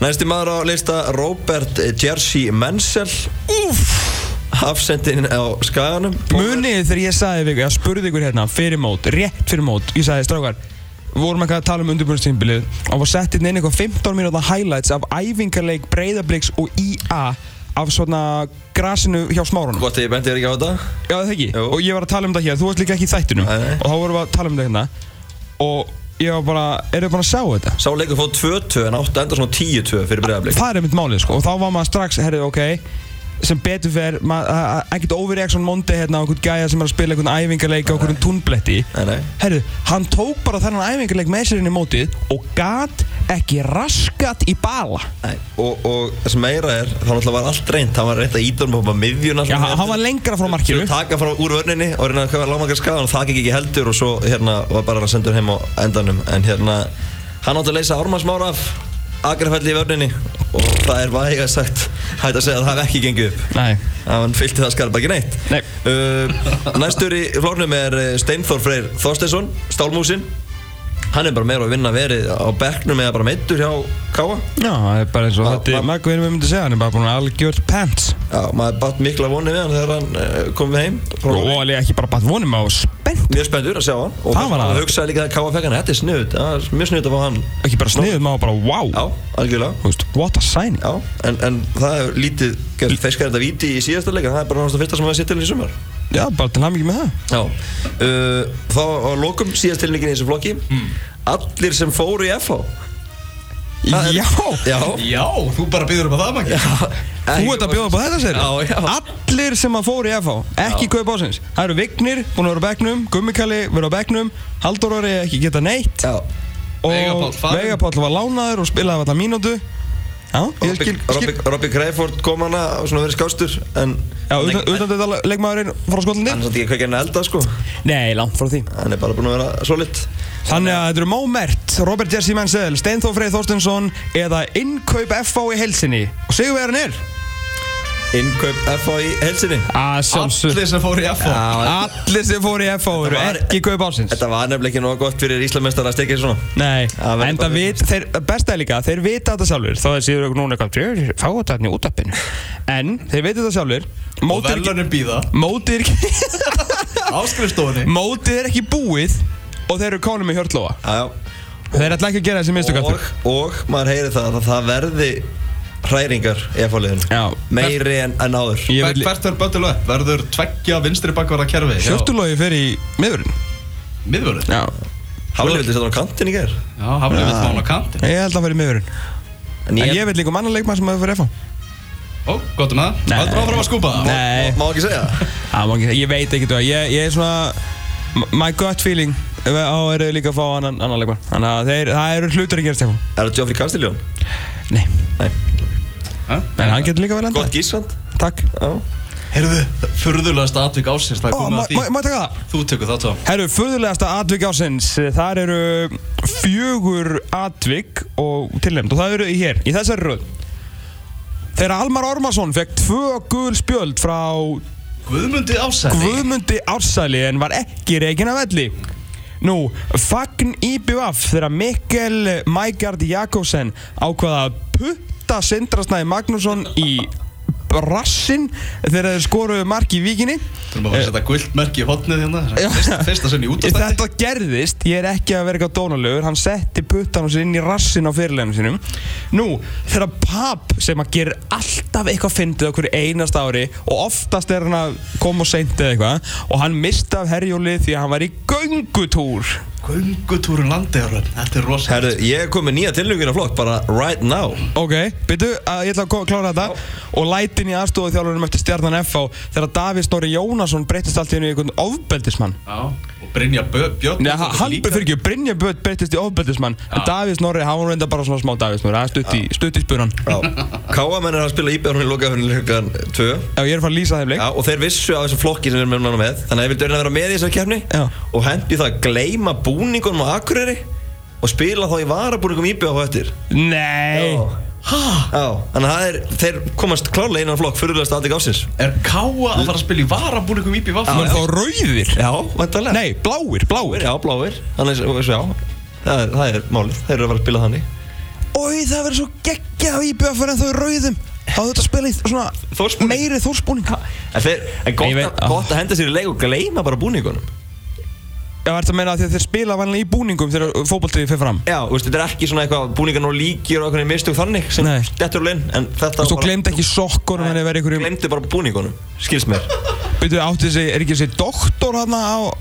S3: Næsti maður á lista Robert Jersey Menzel
S2: Úff
S3: Hafsendinn á skaganum
S2: Munið þegar ég sagði við ykkur, ég spurði ykkur hérna fyrir mót, rétt fyrir mót, ég sagði strákar við vorum eitthvað að tala um undirbúinnstímbilið og var sett inn einhver 15 mínúta highlights af æfingarleik Breiðabliks og IA af svona grasinu hjá smárunum
S3: Gott að ég bendi þér ekki á þetta
S2: Já það ekki,
S3: Jú.
S2: og ég var að tala um þetta hér, þú varst líka ekki í þættinum
S3: Nei, nei.
S2: og þá vorum við að tala um þetta hérna og ég var bara, eru þið búin að sjá þetta?
S3: Sá leikur fóð 2-2 en áttu enda svona 10-2 fyrir bregðarblik
S2: Það er mitt málið sko og þá var maður strax, herrið, ok sem betur fer, ma- a- a- ekkert overreaction mondi hérna á einhvern gæja sem er að spila einhvern æfingarleik á einhvern túnbletti
S3: Nei, nei.
S2: herru, hann tók bara þennan æfingarleik með sér inn í mótið og gat ekki raskat í bala
S3: og, og það sem meira er, þá náttúrulega var allt reynt Hann var reynt að íta um á miðjuna
S2: Já, hann var lengra frá markinu
S3: Taka frá úr vörninni og reyna að hvað var lágmarka skagan og það gekk ekki heldur og svo hérna var bara að senda hann heim á endanum En hérna, hann átti að leysa Ármann Smára af Akrafelli í vörninni Og það er væga sagt, hægt að segja að það hef ekki gengið upp
S2: Nei,
S3: að hann fylgti það skarpa ekki neitt
S2: Nei.
S3: uh, Næstur í flórnum er eh, Steinþór Freyr Þorsteinsson, Stálmúsin Hann er bara meira að vinna verið á bekknum eða bara meittur hjá Káa
S2: já, það er bara eins og
S3: Ma-
S2: þetta er
S3: ma-
S2: Magga vinur mér myndi segja, hann er bara búin að algjört pants
S3: Já, maður batt mikla vonið við hann þegar hann uh, kom við heim
S2: og alveg ekki bara bætt vonum á spennt
S3: Mjög spenntur að sjá hann og
S2: Það var
S3: hann
S2: það.
S3: hugsaði líka að Káa fekk hann Þetta er snuð, mjög snuð að fá hann
S2: ekki bara sniðum á bara, wow
S3: Já, algjörlega
S2: Þú veist, what a signing
S3: Já, en, en það er lítið gerð feskar þetta víti í síðasta leika það er bara náttúrulega fyrsta sem við að setja til í sumar
S2: já, bara til hann með það
S3: Já, uh, þá á lokum síðast tilningin í þessu flokki Allir sem fóru í FH Það er-
S2: já,
S3: Já,
S1: Já, þú bara býður um að það, Maggi
S2: þú ert að bjóða upp á þetta sér
S3: Já, já.
S2: allir sem að fóru í FH, ekki kaup ásins það eru Vignir, búin að vera á bekknum Gummikalli, vera á bekknum, Halldór Orri ekki geta neitt
S3: Já,
S2: og
S1: Veigar Páll farinn.
S2: Veigar Páll var lánaður og spilaði alltaf mínútu Já, ég skil, skil.
S3: Robbie- Robbie Crayford kom hana og svona verið skástur en
S2: Já,
S3: en-
S2: utan,
S3: en-
S2: utan þetta le- leikmaðurinn frá
S3: hann
S2: Skotlandi?
S3: er svolítið ekki kveikjan að elda sko
S2: Nei, langt frá því.
S3: hann er bara búin að vera solid
S2: Þannig að þetta eru Mó Mert, Robert Jesse Mansell, Steinþór Freyð Þorstinsson eða Innkaup FH í helsinni. Og segjum við hann er?
S3: innkaup FA í helsinni
S2: Að sjálfsög.
S1: Allir sem fóru í FH
S2: Allir sem fóru í FH eru
S3: var-
S2: ekki kaup ásins.
S3: þetta var nefnilega ekki nóg gott fyrir Íslamestara að stekja þessu svona
S2: Nei,
S3: Það verður
S2: en það
S3: bara-
S2: vit, þeir, besta er líka, þeir vita þetta sjálfur Þá þeir séu okkur núna eitthvað, "Ég fá þetta hann í útappinu En þeir vita þetta sjálfur
S1: Og
S2: Mótið er ekki,
S1: velunum býða
S2: mótið er ekki, [laughs]
S1: Áskrifstofunni
S2: mótið er ekki búið Og þeir eru konum með hjörtlóa
S3: Já,
S2: Þeir ætla ekki að gera þessi
S3: já.
S2: mistök
S3: og,
S2: aftur
S3: og maður heyri það að það verði hræringar í FA-liðinu
S2: Já.
S3: meiri en, en áður
S2: Ég
S1: Hvert
S2: vil-
S1: hvert verður böttul upp? Verður tveggja vinstri bakvara kerfi hjá
S2: Hjörtlói fer í miðurinn
S1: Miðvörður?
S2: Já,
S3: Hafli vildi setja hann á kantinn í gær
S1: Já, hafði við mánu á kantin
S2: ég held að fer í miðurinn En
S3: en ég,
S2: ég vil líka um annan leikmann sem hefur fyrir FH
S1: Ó, gott um það
S2: Nei.
S1: Haldur áfram að skúpa
S2: Nei,
S3: má ekki segja það?
S2: á, má ekki- ég veit ekki það Ég ég er svona, my gut feeling Á eru líka að fá annan, annan leikmann Þannig að þeir, það eru hlutur að gera stefn
S3: er það Geoffrey Castiljón?
S2: Nei,
S3: nei
S2: en hann getur líka vel enda
S3: gott gísvand
S2: Takk
S3: já
S1: Herðu, furðulegast atvik ásins Það er
S2: Ó,
S1: komið að
S2: má, má,
S1: því
S2: má ég taka það?
S1: Þú tekur það, Tom
S2: Herru, furðulegasta atvik ásins Þar eru fjögur atvik og tilnæmt og það eru hér, í þessari röð Þegar Almar Ormarsson fekk tvö gul spjöld frá
S1: Guðmundi ásæði
S2: Guðmundi Ársæli en var ekki reikin af velli Nú, fagn IBF þegar Mikkel Mægard Jakobsen ákvaða að putta Sindrasnæði Magnússon í rassin þegar þeir skoruðu mark í vikinni
S1: Þurfum að fara að setja gullt merki í hotnið hérna
S2: Já.
S1: Fyrsta, fyrsta sinn í útastætti
S2: Þetta gerðist, ég er ekki að vera eitthvað dónalögur Hann setti puttan og sér inn í rassin á fyrirleginu sínum Nú, þegar pap sem að gerir alltaf eitthvað fyndið á hverju einast ári Og oftast er hann að koma og seint eða eitthvað Og hann misti af herjólið því að hann var í göngutúr
S1: Göngutúrun landiðaröfn Þetta er rosa
S3: Herðu, ég er komið nýja tilnöngin á flokk bara right now
S2: Ok, byrju, að ég ætla að ko- klára þetta Og lætin í aðstofu þjálfurum eftir stjarnan F á Þegar Davís Snorri Jónasson breytist allt í hennu í einhvern ofbeldismann
S1: Já, og Brynja Bö- Björn
S2: Nei, ha- hann fyrir ekki, Brynja Böð breytist í ofbeldismann En
S1: Já.
S2: Davís Norri, hann var reynda bara svona smá Davís Norri Það er stutt í, stutt í spunan [laughs]
S3: K.A. menn er að spila íbjörnum í lokaðunum klukkan 2
S2: Já, ég er að fara að lýsa þeim leik
S3: Já, og þeir vissu af þessum flokki sem við erum með núna með Þannig að ég vildi reyna að vera með í þessari kefni
S2: Já.
S3: Og hendi það að gleyma búningunum á Akureyri Og spila þá í varabúningum íbjörn á eftir
S2: Nei
S3: Hæ? Já, þannig að það er, þeir komast klárlega innan flokk Fyrirlega statik ásins
S1: Er Káa að fara að spila í varabúningum í BVF?
S2: Nú er þá rauðir
S3: Já, vantarlega
S2: Nei, bláir, bláir
S3: Já, bláir Þannig að, já Það er, það er málið, þeir eru að fara að spila þannig
S2: Ói, það verður svo geggja á IBF en þau er rauðum Þá þetta spila í svona
S3: Þórsbúning.
S2: meiri þórspúning
S3: En, þeir, en gott,
S2: Ég veit-
S3: að, gott að henda sér í leik og gleyma bara búningunum
S2: Já, ertu að meina að því að þeir spila vanlega í búningum þegar fótboltiði fer fram
S3: Já, þú veist, þetta er ekki svona eitthvað búningan og líkir og eitthvað mistug þannig sem
S2: Nei.
S3: dettur úr linn En þetta
S2: Þú glemd ekki sokkunum en verið einhverjum
S3: Glemdu bara búningunum, skils mér
S2: Byrju, átti þessi, er ekki þessi doktor hann á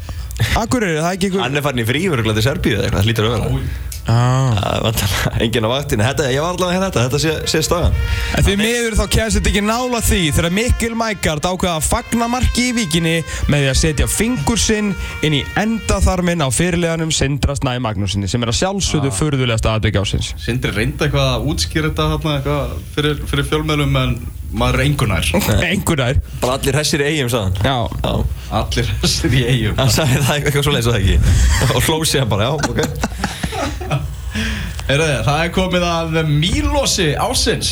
S2: Akureyri, er það ekki
S3: Hann
S2: einhver
S3: er farin í frífuruglega til Serbíu eða eitthvað, það lítur að vera
S2: ah.
S3: Það vantar enginn á vaktinu, þetta, ég var allavega hérna þetta, þetta sé, sé staðan
S2: En því miður þá kemst þetta ekki nála því þegar Mikkel Mækard ákveða að fagna marki í vikinni með því að setja fingur sinn inn í endaþarminn á fyrirleganum Sindra Snæ Magnúsinni sem er að sjálfsögðu ah. fyrðulegasta atvik ásins.
S1: Sindri reyndi eitthvað að útskýra þetta hérna, eitthvað, fyrir, fyrir fjölmjölum en maður er engunær
S2: Oh. Engunar.
S3: Bara allir hessir í eigum sagðan
S2: Já.
S3: Já,
S1: Allir [laughs] þessir í eigum
S3: hann sagði það eitthvað svo leins og það ekki Og hlóð sér bara, já, ok
S1: Heyrðu, Það er komið að Mílosi ásins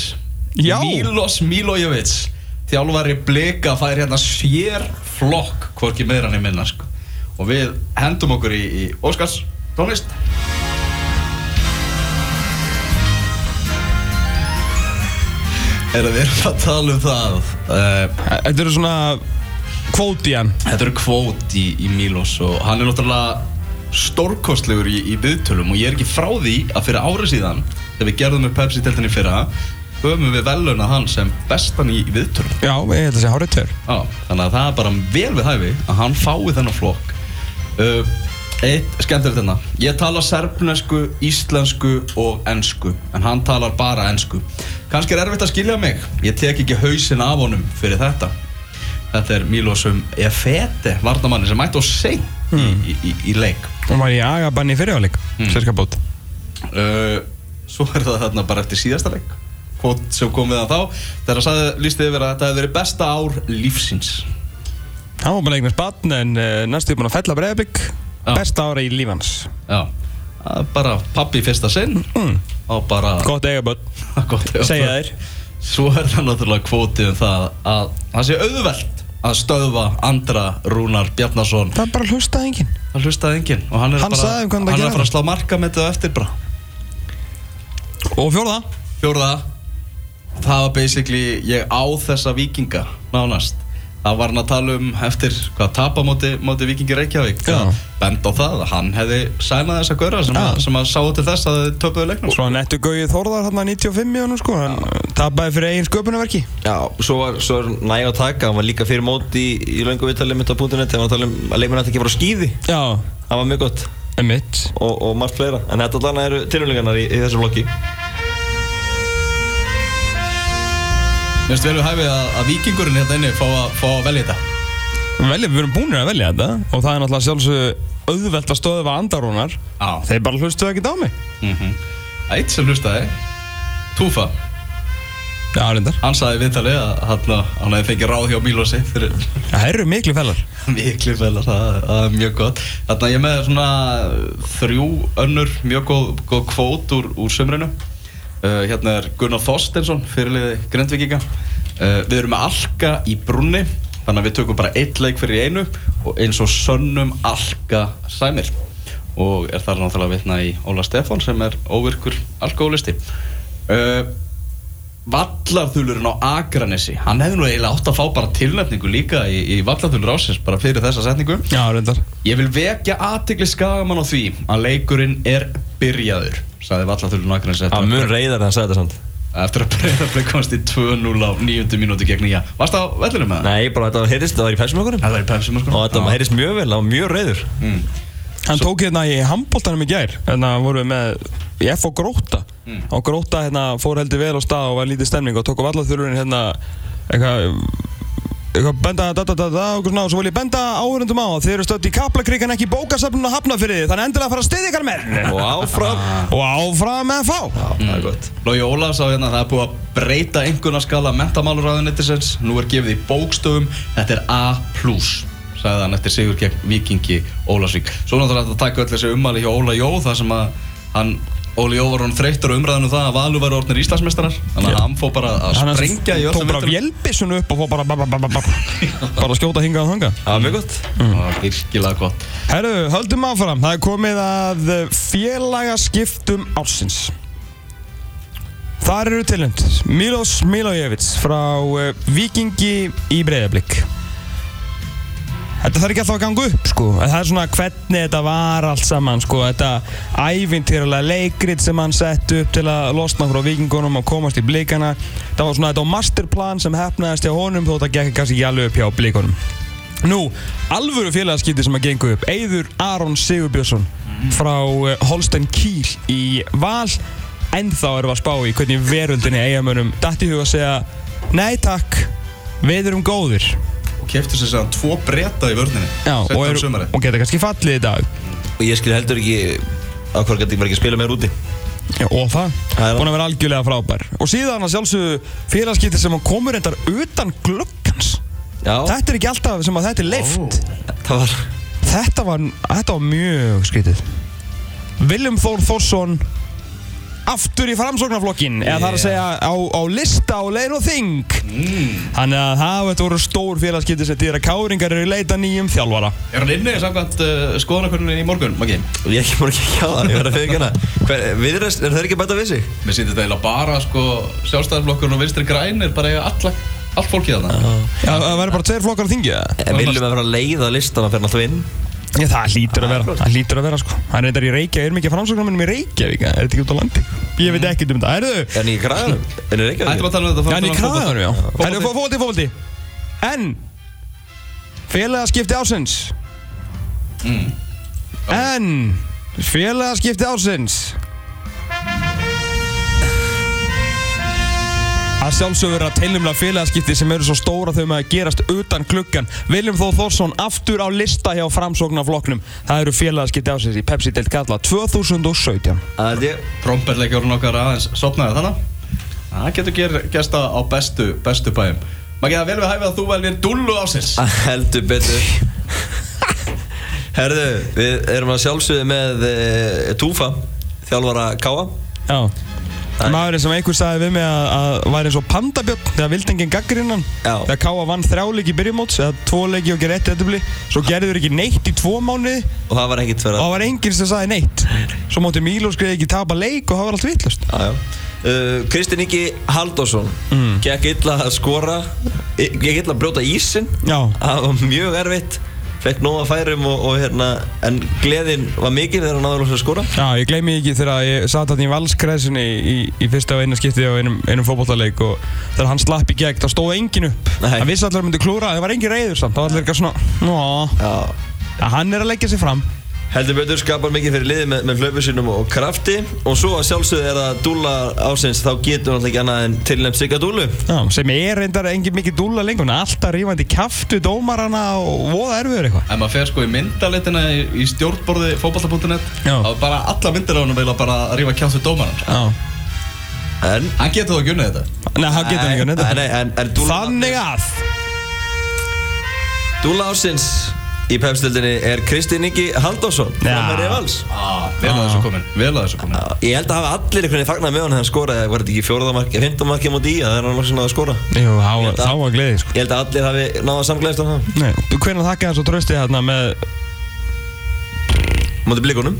S2: Já.
S1: Mílos Mílojevic Þjálfari blika fær hérna sér flokk Hvorki meðra hann er minna sko. Og við hendum okkur í, í Óskars tónlist Heyrðu, Við erum að tala um það uh,
S2: Þetta eru svona kvótian.
S1: Þetta eru kvót í, í Mílos og hann er náttúrulega stórkostlegur í, í viðtölum og ég er ekki frá því að fyrir ári síðan þegar við gerðum með Pepsi-teltinni fyrra höfum við veluna hann sem bestan í, í viðtölum
S2: Já, ég held að segja hárið tör.
S1: Já, þannig að það er bara vel við hæfi að hann fái þennan flokk uh, Eitt skemmtilegt hérna Ég tala serbnesku, íslensku og ensku En hann talar bara ensku Kannski er erfitt að skilja mig Ég tek ekki hausinn af honum fyrir þetta Þetta er Mílosum Efete, varnamanni sem mætti og sein í, í, í leik
S2: Hún var í Hmm. agabanni í fyrirháleik, mm. sérskapbót.
S1: uh, Svo er það þarna bara eftir síðasta leik kvot sem kom við það þá þegar hann sagði, lísti yfir að þetta hefði verið besta ár lífsins
S2: Hann var búin að eignast batn en uh, næstu er búin að fella breyðbygg
S1: Já.
S2: Besta ára í lífans
S1: Já, það er bara pappi í fyrsta sinn
S2: mm.
S1: og bara
S2: Gott eigaböld
S1: gott,
S2: Segja þér
S1: Svo er það náttúrulega kvotið um það að það sé auðvelt að stöðva andra Rúnar Bjarnason
S2: Það er bara að hlusta enginn
S1: Það hlustaði enginn og hann er
S2: Hann
S1: bara,
S2: sagði um hvað hann var að
S1: hann er
S2: gera.
S1: að fara að slá marka með þetta eftir bara
S2: Og fjórða
S1: Fjórða Það var basically ég á þessa vikinga nánast Það var hann að tala um eftir hvað tapa móti, móti vikingi Reykjavík
S2: Já.
S1: að benda á það að hann hefði sænað þessa gauðra sem,
S2: Já.
S1: að- sem að sáu til þess að þau töpuðu leiknum
S2: Svo hann ettu Gauði Þórðar hann 95 mjónum sko Hann eh, tapaði fyrir eigin sköpunarverki
S3: Já, svo var, svo var næg að taka, hann var líka fyrir móti í, í löngu viðtalið mitt á punktunett þegar hann var að tala um að leikmenn ætti ekki bara á skýði,
S2: Já,
S3: það var mjög gott
S2: emitt
S3: og, og margt fleira, en þetta allan eru tilhörlingarnar í, í þessu blokki
S1: Mér finnst vel við hæfið að, að vikingurinn hérna inni fá að, fá að velja þetta
S2: Velja, við erum búinir að velja þetta Og það er náttúrulega sjálfsög auðvelt að stöðva andarúnar
S1: Já
S2: Þeir bara hlustuðu ekki á mig
S1: Mhm. Eitt sem hlustaði Túfa
S2: Já, reyndar
S1: Hann sagði í viðtalið að hann, hann hefði fengið ráð hjá Mílosi fyrir
S2: Það eru miklu fellar
S1: Miklu felar, það, það er mjög gott Þannig að ég er með svona þrjú önnur mjög góð, góð kvót úr, úr sömrinu uh, Hérna er Gunnar Þorstensson, fyrirliði Grindvíkinga uh, Við erum með Alka í brunni Þannig að við tökum bara eitt leik fyrir í einu Og eins og sönnum Alka sæmir Og er þar náttúrulega vitna í Óla Stefán sem er óvirkur alkoholisti uh, Vallarþulurinn á Akranesi Hann hefði nú eiginlega átt að fá bara tilnefningu líka í, í Vallarþulur ásins bara fyrir þessa setningu
S2: Já, reyndar
S1: Ég vil vekja aðtikli skagamann á því að leikurinn er byrjaður sagði Vallarþulurinn á Akranesi eftir,
S3: mun reyðar en hann sagði þetta samt
S1: að- eftir að breyðarfleg [laughs] komst í 2-0 á 90 mínúti gegn nýja Varst það á vellinu með það?
S3: Nei, bara þetta heyrist, það var í pæsum okkur
S1: Það var í pepsum
S3: og þetta
S1: Já.
S3: heyrist mjög vel, það var mjög reyður
S1: Mm.
S2: Hann tók hérna í handbóltanum í gær Þannig að voru Hérna við með í F og Gróta
S1: Mm.
S2: Og Gróta hérna fór heldur vel á stað og var lítið stemning Og tók á vallaþururinn hérna Eitthvað eitthvað benda da da da da og svona og svo vil ég benda áhörundum á að þið eru stödd í Kaplakrík en ekki bókasafnun að hafna fyrir þið þannig endilega að fara að styðja ykkar með
S3: og áfram
S2: og áfram með fá
S3: Já, það er gott
S1: Lógi Ólafs á hérna, það er búið að breyta einhvernarskala mentamálurraðunettisins, nú er gefið í bókstöfum, þetta er A+, sagði hann eftir sigur gegn vikingi Ólafsvík. Svo náttúrulega þetta taka öll þessi ummæli hjá Óla Jó, þar sem að hann, Óli Jó var hann þreyttur á umræðinu það að Valur var orðnir Íslandsmeistarar, þannig að hann fór bara að
S2: Hann
S1: sprengja í
S2: tók
S1: öllum
S2: bara vélbissun upp og fór bara bara, bara, bara, bara, bara að skjóta hingað og þangað
S3: Það var mjög gott
S1: Það var virkilega gott.
S2: Herru, höldum áfram, það er komið að félagaskiptum ársins Þar eru tilnæmt Milos Milojevic frá eh, Víkingi í Breiðablík Þetta þarf ekki alltaf að ganga upp sko En Það er svona hvernig þetta var allt saman sko Þetta ævintýralega leikrit sem hann sett upp til að losna frá vikingunum og komast í blíkana Það var svona þetta var masterplan sem hefnaðist hjá honum þó þetta gekk kannski ekki alveg upp hjá blíkunum Nú, alvöru félagaskipti sem að gengu upp Eyður Aron Sigurbjörnsson frá eh, Holstein Kiel í Val En þá erum við að spá í hvernig veröldinni eigamönum Datti huga að segja Nei takk, við erum góðir
S1: Og keftur sér sér tvo breyta í vörninni,
S2: Já, og,
S1: settum
S2: er,
S1: sumari.
S2: og geta kannski fallið í dag
S3: Og ég skil heldur ekki að hvað gæti ekki að spila meir úti
S2: Já, og það,
S3: Það er það.
S2: búin að vera algjörlega frábær og síðan að sjálfsögðu félagskipti sem komur reyndar utan glukkans
S3: Já,
S2: þetta er ekki alltaf sem að þetta er leift
S3: það var
S2: þetta, var, þetta var mjög skrítið Viljum Þór Þórsson aftur í framsóknarflokkin eða það er að segja á, á lista á lein og þing þannig að það þetta voru stór félagskipti sem dýra káringar eru í leita nýjum þjálfara
S1: Er hann inni samkvæmt uh, skoðanakönnunni í morgun, Maggi?
S3: Ég ekki bara ekki á það, ég verði að fyrir hana Viðreist, er það ekki að bæta við sig?
S1: Mér sýndi þetta eiginlega bara sko sjálfstæðarflokkurinn og vinstri grænir bara eiga alla, allt fólkið þarna.
S2: Já, það verður bara tveir flokkar á þingi eða?
S3: En viljum Eh, að vera að leiða listana fyrir náttúrulega inn
S2: Já, það hlýtur að vera, það hlýtur að vera sko Hann reyndar í Reykjavík, er mikið framsögnarmennum í Reykjavík eða? Er þetta ekki út á landi? Ég veit ekkert um þetta, erðu?
S3: Er hann ekki í kraganum? Er hann ekki að
S1: Ætlum að tala um þetta fórum
S2: Já, hann
S1: til
S2: í
S1: að-
S2: kraðanum, já
S1: Fótbolti.
S2: Herðu, fóti, fóti En Félagaskipti ásins
S1: Mm.
S2: En Félagaskipti ásins Að sjálfsögur að teilumla félagaskipti sem eru svo stóra þau með að gerast utan klukkan Viljum Þór Þórsson aftur á lista hjá framsóknarflokknum Það eru félagaskipti ásins í Pepsi Delt Kalla 2017
S3: Það held ég
S1: Trompetleikjórun okkar aðeins sopnaði þannig. Það getur ger, gerst á á bestu, bestu bæjum Maður getur vel við hæfið að þú velvir dullu ásins
S3: Heldur betur Herðu, við erum að sjálfsögðu með e, Túfa, þjálfara Káa
S2: Já Maðurinn sem einhver sagði við mig að, að væri eins og pandabjörn þegar vildi enginn gaggrinnan
S3: Já.
S2: þegar Káa vann þrjáleik í byrjumóts eða tvoleiki og gerði eitt eðubli svo gerður ekki neitt í tvo mánuði
S3: og það var ekkert
S2: og
S3: fyrir að
S2: það var enginn sem sagði neitt svo móti Míló skriði ekki tapa leik og það var allt vitlust
S3: Já, já. Uh, Kristinn Ingi Halldórsson gekk illa að skora i- gekk illa að brjóta ísin
S2: Já.
S3: það var mjög erfitt fekk nóga færum og, og hérna en gleðin var mikil þegar hann aðurlóks að skora
S2: Já, ég gleymi því ekki þegar ég satt hann í valskræðsunni í, í, í fyrsta og eina skipti á einum, einum fótbollaleik og þegar hann slapp í gegn þá stóð enginn upp
S3: Nei.
S2: hann vissi allir að hann myndi klúra, það var engin reyður samt það var allir eitthvað svona,
S3: Já.
S2: ná, hann er að leggja sig fram
S3: heldur betur skapar mikið fyrir liði með, með hlaupið sínum og krafti og svo að sjálfsögðu er að dúla ásins þá getur hann ekki annað en tilnæmt sigga dúlu
S2: Já, sem er reyndar engin mikið dúlla lengur, hann er alltaf rífandi kjaft við dómarana og voða erfiður eitthvað.
S1: Ef maður fer sko í myndalitina í, í stjórnborði fótballta.net
S2: Já.
S1: þá er bara alla myndir á hann veila bara að rífa kjátt við dómaran
S2: Já,
S3: en
S1: Hann getur þó að gjunni þetta
S2: nei, það getur hann ekki að
S3: Nei,
S2: netta.
S3: nei, en, en dúla,
S2: Þannig að,
S3: dúla ásins í pepstildinni er Kristinn Ingi Halldórsson
S2: Já.
S3: framherji Vals.
S1: ah, Vel að þessu komin, vel að þessu komin
S3: Ég held að hafa allir einhvern veginn fagnað með hann þegar hann skoraði, var þetta ekki fjóraðamarki, fymtamarki móti í að það er hann lóksin að skora.
S2: jú, þá
S3: Ég held að-
S2: þá var gleðið sko.
S3: Ég held að allir hafi náða samglæðist á það.
S2: Nei, hvernig þakka hann svo tröstið hérna með
S3: Móti blikunum,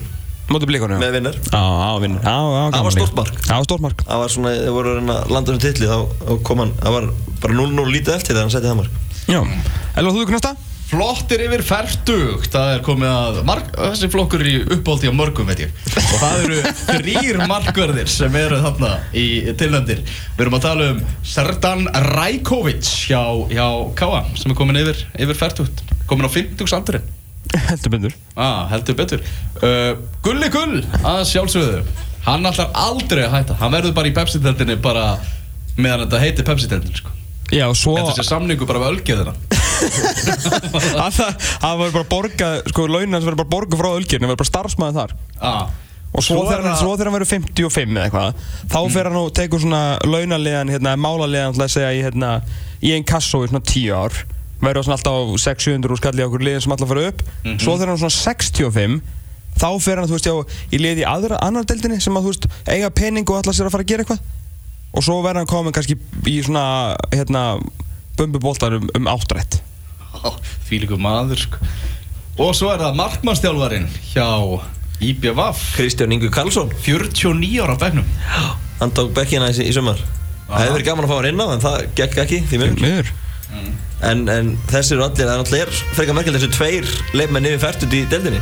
S2: móti blíkunum?
S3: með vinnar.
S2: Já, já, vinnur. Já, já, gaman
S3: Það var
S2: líka.
S3: stórt mark.
S2: Já, stórt mark.
S3: Það var svona, þeir voru að reyna að landa um titli, þá þá kom hann, það var bara 0-0 lítið eftir þegar hann setti það mark.
S2: Já, Elva, þú ykkur næsta?
S1: Flottir yfir færtugt, það er komið að mark, þessi flokkur er í uppáldi á mörgum veit ég og það eru þrýr markverðir sem eru þarna í tilnæmdir Við erum að tala um Serdan Rajkovic hjá, hjá K.A. sem er komin yfir, yfir færtugt komin á 50 sandurinn
S2: Heldur byndur.
S1: ah, heldur betur uh, Gulli Gull að sjálfsögðu hann ætlar aldrei að hætta hann verður bara í Pepsi-teltinni bara meðan þetta heitir Pepsi-teltinni sko.
S2: Já, og svo...
S1: þetta sé samningu bara við ölgeðina
S2: [laughs] að Það það var bara borgað, sko, launin hans verður bara borgað frá ölgirni, verður bara starfsmæðið þar.
S1: ah.
S2: Og svo,
S1: Svo er
S2: þegar hann,
S1: það-
S2: svo þegar hann verður 55 eða eitthvað, þá fer hann og tekur svona launaliðan, hérna, málaliðan, ætla að segja, í, hérna, í einn kassó í svona 10 ár, verður svona alltaf á 600 og skalli á okkur liðin sem alltaf fara upp, svo þegar hann er svona 65, þá fer hann, þú veist, já, í liði í aðra, annar deildinni sem að, þú veist, eiga pening og ætla sér að fara að gera eitthvað, og svo verður hann komin kannski í svona, hérna, bumbuboltar um, um áttrætt.
S1: því líku maður sko. og svo er það markmannstjálfarin hjá IBVF
S3: Kristján Ingu Karlsson,
S1: 49 ára á begnum
S3: hann tók bekkina í, í sumar. Það hefði verið gaman að fá hann inn á, en það gekk ekki, því miður.
S2: Miður.
S3: En, en þessir eru allir, það er náttúrulega er frekar merkilegt þessu tveir leifmenn yfir færtut í deldinni.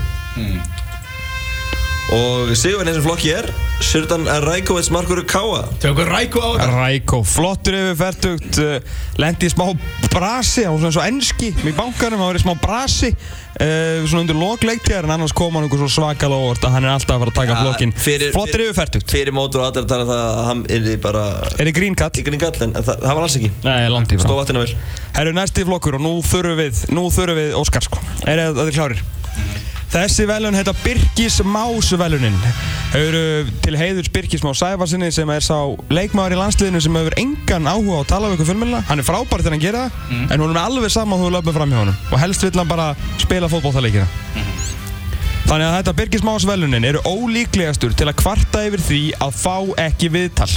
S3: Og sigurinn í þessum flokki er Sördan Rækovits Markur Káa
S1: tökum ræku á þetta
S2: Rækó, flottur yfir færtugt uh, Lendi í smá brasi Hann var svona eins og enski í bankanum Hann var í smá brasi uh, Svona undir lokleiktíðar En annars kom hann einhver svo svakal á orð Að hann er alltaf að fara að taka
S3: Ja,
S2: flokkin
S3: fyrir-
S2: Flottur
S3: fyrir-
S2: yfir færtugt
S3: Fyrir mótur og allir að tala um það að hann er bara
S2: Er þið grínkall?
S3: Ykkurinn gall en það, það var alls ekki
S2: Nei, langt í
S3: Stóð vatnina vel
S2: Herru, næsti flokkur og nú þurfum við, nú þurfum við Óskar sko. Er það þið klárir? Þessi velun heita Birgis Más velunin. Hefur til heiðurs Birgis Más Sæfarsinni sem er sá leikmaður í landsliðinu sem hefur engan áhuga á að tala við ykkur fjölmjölina. Hann er frábær þegar hann gerir það, en hún er alveg saman þú löpum fram hjá honum. Og helst vill hann bara spila fótballtaleikina. Þannig að þetta Birgis Más velunin eru ólíklegastur til að kvarta yfir því að fá ekki viðtal.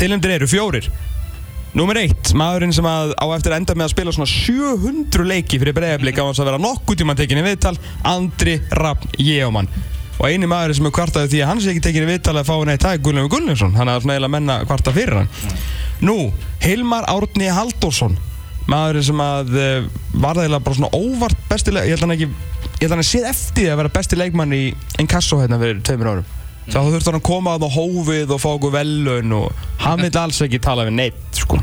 S2: Tilendir eru fjórir. Númer eitt, maðurinn sem að á eftir að enda með að spila svona 700 leiki fyrir breyðablík á hans að vera nokkuð tíma tekinni viðtal, Andri Rafn Jéumann. Og eini maðurinn sem er kvartaði því að hans er ekki tekinni viðtal að fá hann eitt tag, Gullum Gullumsson, hann er svona eiginlega menna kvarta fyrir hann. Nú, Hilmar Árni Halldórsson, maðurinn sem að eh, var það eiginlega bara svona óvart bestileg, ég held hann ekki, ég held hann að séð eftir því að vera besti leikmann í Inkasso hérna fyrir tveimur árum. Þá þurfti hann að koma að það hófið og fá okkur velun og hann vil alls ekki tala við neitt sko.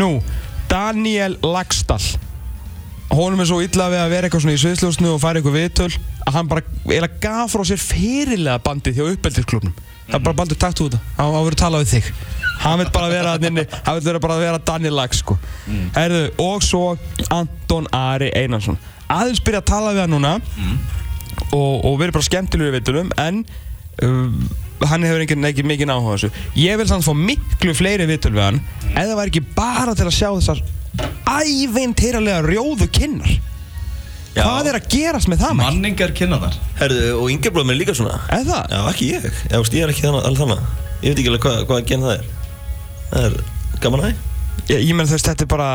S2: Nú, Daniel Lagstall Honum er svo illa við að vera eitthvað svona í sviðsljósnu og fara eitthvað viðtöl að hann bara eiginlega gaf frá sér fyrirlega bandið hjá uppeldisklubnum Það er bara bandur takt út það, hann verður tala við þig Hann vil bara vera að nynni, hann vil vera bara að vera Daniel Lags sko Herðu, og svo Anton Ari Einarsson Aðeins byrja að tala við hann núna og, og verið bara skemmtilegur í vitunum en uh, hann hefur engin, ekki mikið áhuga á þessu ég vil samt fá miklu fleiri vitul við hann ef það væri ekki bara til að sjá þessar ævintýralega rjóðu kinnar
S3: Já.
S2: hvað er að gerast með það maður?
S1: Manningar kynna þar
S3: Herðu, og yngjarbróðum er líka svona
S2: Er það?
S3: Já, ekki ég, já, veist, ég er ekki þannig, alveg þannig Ég veit ekki alveg hvað, hvað gen það er Það er gaman að því
S2: Ég, ég menn þú veist, þetta er bara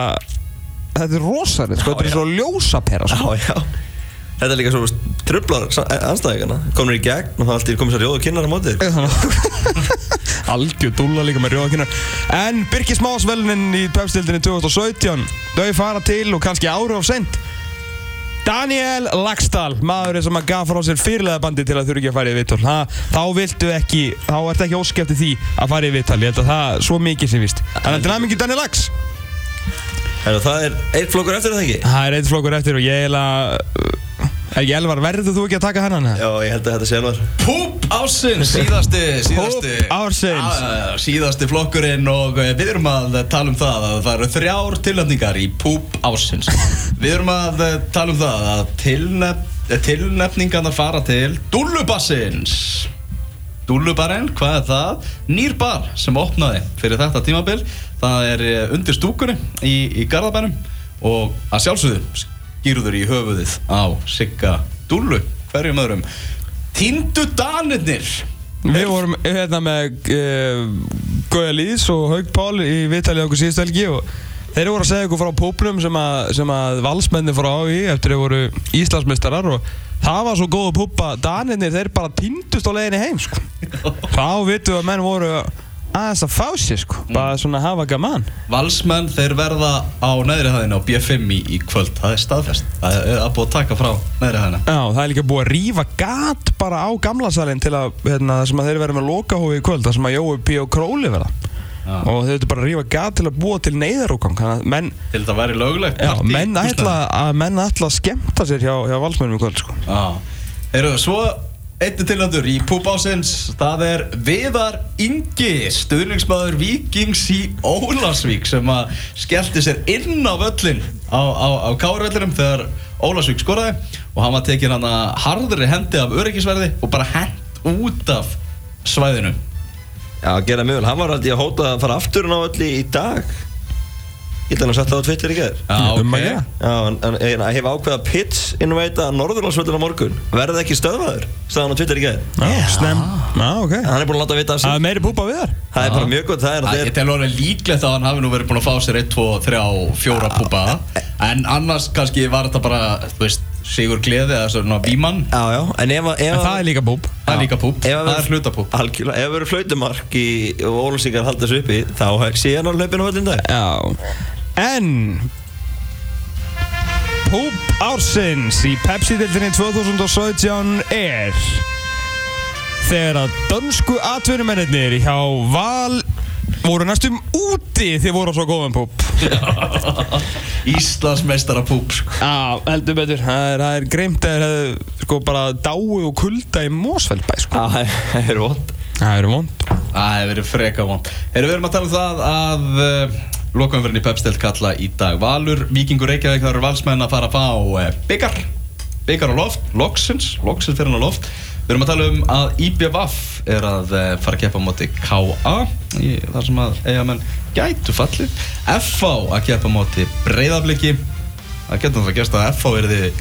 S2: þetta er rosalegt, sko,
S3: Já,
S2: þetta er
S3: já.
S2: svo ljósapera sko.
S3: Já, já Þetta er líka svo veist, trublar sa- eh, anstæðingana Komnir í gegn og það allt í komið sér jóð og kynnar á móti þér.
S2: [laughs] algjör dúlla líka með rjóðakinnar en Birgis Más velunin í pepstildinni 2017 þau fara til og kannski ári of sent Daniel Laxdal maðurinn sem að gaf frá sér fyrirleðabandi til að þurfi ekki að fara í viðtal Ha, þá viltu ekki, þá ertu ekki óskið eftir því að fara í viðtal, ég held að það er svo mikið sem víst þannig að til aðmyggju Daniel Lax
S3: Herðu, það er eitt flokkur eftir er það ekki
S2: það er eitt flokkur eftir og ég held að er ég elvar, verður þú ekki að taka hennan?
S3: Já, ég held að þetta sé alvar
S1: Púp ársins, síðasti, síðasti
S2: Púp ársins.
S1: Já, eh, Síðasti flokkurinn og eh, við erum að tala um það að það eru þrjár tilnefningar í Púp ársins Við erum að eh, tala um það að tilnef, eh, tilnefningarnar fara til Dúllubassins Dúllubarinn, hvað er það? Nýr bar sem opnaði fyrir þetta tímabil Það er eh, undir stúkunni í, í Garðabænum og að sjálfsögðu skýrður í höfuðið á Sigga Dúllu hverjum öðrum Tindu Danirnir
S2: Við vorum hérna með uh, Gauja Lýðs og Haug Pál í viðtalið okkur síðustu helgi og þeir voru að segja okkur frá púplum sem að, sem að valsmenni frá í eftir þeir voru Íslandsmeistarar og það var svo góða púpa Daninir þeir bara týndust á leiðinni heim sko. þá vitum við að menn voru aðeins að fá sér sko, bara svona hafa gaman
S1: Valsmenn þeir verða á neðri hæðinu á B5 í, í kvöld, það er staðfest Það er að búið að taka frá neðri hæðina
S2: Já, það er líka búið að rífa gat bara á gamla salin til að, hérna, það sem að þeir verða með lokahófi í kvöld, það sem að Jói P. og Króli verða
S1: Já.
S2: og þeir eru bara að rífa gat til að búa til neyðarúkang, þannig að menn
S1: Til þetta væri löglegt
S2: Já,
S1: partí í
S2: menn
S1: húsnæði.
S2: ætla að menn ætla að skemmta sér hjá, hjá valsmönum í kvöld sko.
S1: Já, eru svo einnig tilöndur í púbásins Það er Viðar Ingi, stuðningsmaður Víkings í Ólasvík sem að skellti sér inn á völlin á, á, á Kárvellinum þegar Ólasvík skoraði og hann var tekin hann að harðri hendi af öryggisverði og bara hent út af svæðinu
S3: Já, gerða mjög vel, hann var aldrei að hóta að fara aftur á öllu í dag Ég ætla hann að setja það á Twitter í gerð
S1: Já,
S2: Um að
S1: ok.
S2: gera.
S3: Já, en, en en ég hef ákveða pits inn og veit að Norðurlandsvöldin á morgun verði ekki stöðvaður, sagði hann á Twitter í gerð
S2: Já, snem Já, ok
S3: Hann er búin að láta vita af
S2: Það
S3: sér
S2: er meiri púpa við þar
S3: Það er bara mjög gott, það er,
S1: Það
S3: það
S1: ég
S3: er
S1: tel orðið líklegt að hann hafi nú verið búin að fá sér 1, 2, 3, 4
S3: Ah,
S1: púpa
S3: eh,
S1: En annars kannski var þetta bara, þú veist, Sigur Gleði eða svona Bímann
S3: Já, já, en ef að
S2: En það er líka púp
S1: Það er líka púp,
S3: Ef að
S1: það er
S3: vera-
S1: hlutapúp
S3: Algjörlega, ef það verður flautumark í og Ólfsíkar halda þessu uppi þá sé hann á hlaupinu öllin dag
S2: Já En Púp ársins í Pepsi-dildinni 2017 er Þegar að dönsku atvinnumennir hjá Val voru næstum úti þegar voru á svo góðan púp
S1: Íslandsmeistara púp sko.
S2: Já, heldur betur Það er, það er greimt að þeir hefðu sko bara dáu og kulda í Mósfellbæ sko.
S3: Það er vond
S2: Það eru vond
S1: Það hefur verið freka von Erum við erum að tala um það að uh, Lokaumverðin í Pepsdelt kalla í dag Valur, Víkingur Reykjavík, það eru valsmenn að fara að fá uh, byggar Byggar á loft, loksins, loksins fyrir hann á loft Við erum að tala um að IBVF er að eh, fara að keppa á móti KA í- þar sem að eigamenn gætu fallið FH að keppa á móti breyðafliki Það getur það að gerst að FH er þið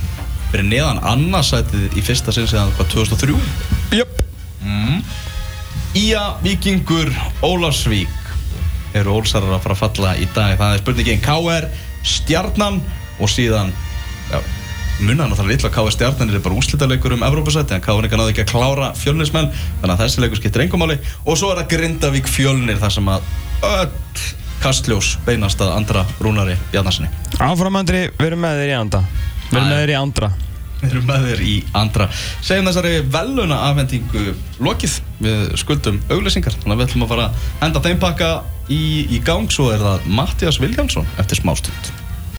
S1: fyrir neðan annarsætið í fyrsta sinn síðan hvað 2003
S2: Jöp
S1: Ía, Víkingur, Ólafsvík eru ólsarar að fara að falla í dag það er spurningin KR, Stjarnan og síðan já, munna hann að það er illa að KR Stjarnan er bara úrslitaleikur um Evrópusæti en KR náði ekki að klára fjölnismenn þannig að þessi leikur skiptir engumáli og svo er það Grindavík fjölnir þar sem að öll kastljós beinast að andra rúnari Bjarnarssoni
S2: Áfram Andri, við erum með þér í anda Við erum með þér í andra
S1: Við erum með þér í andra Segjum þessari veluna afhendingu lokið Við skuldum auglýsingar Þannig að við ætlum að fara að henda þeim pakka í, í gang Svo er það Mattias Viljánsson eftir smástund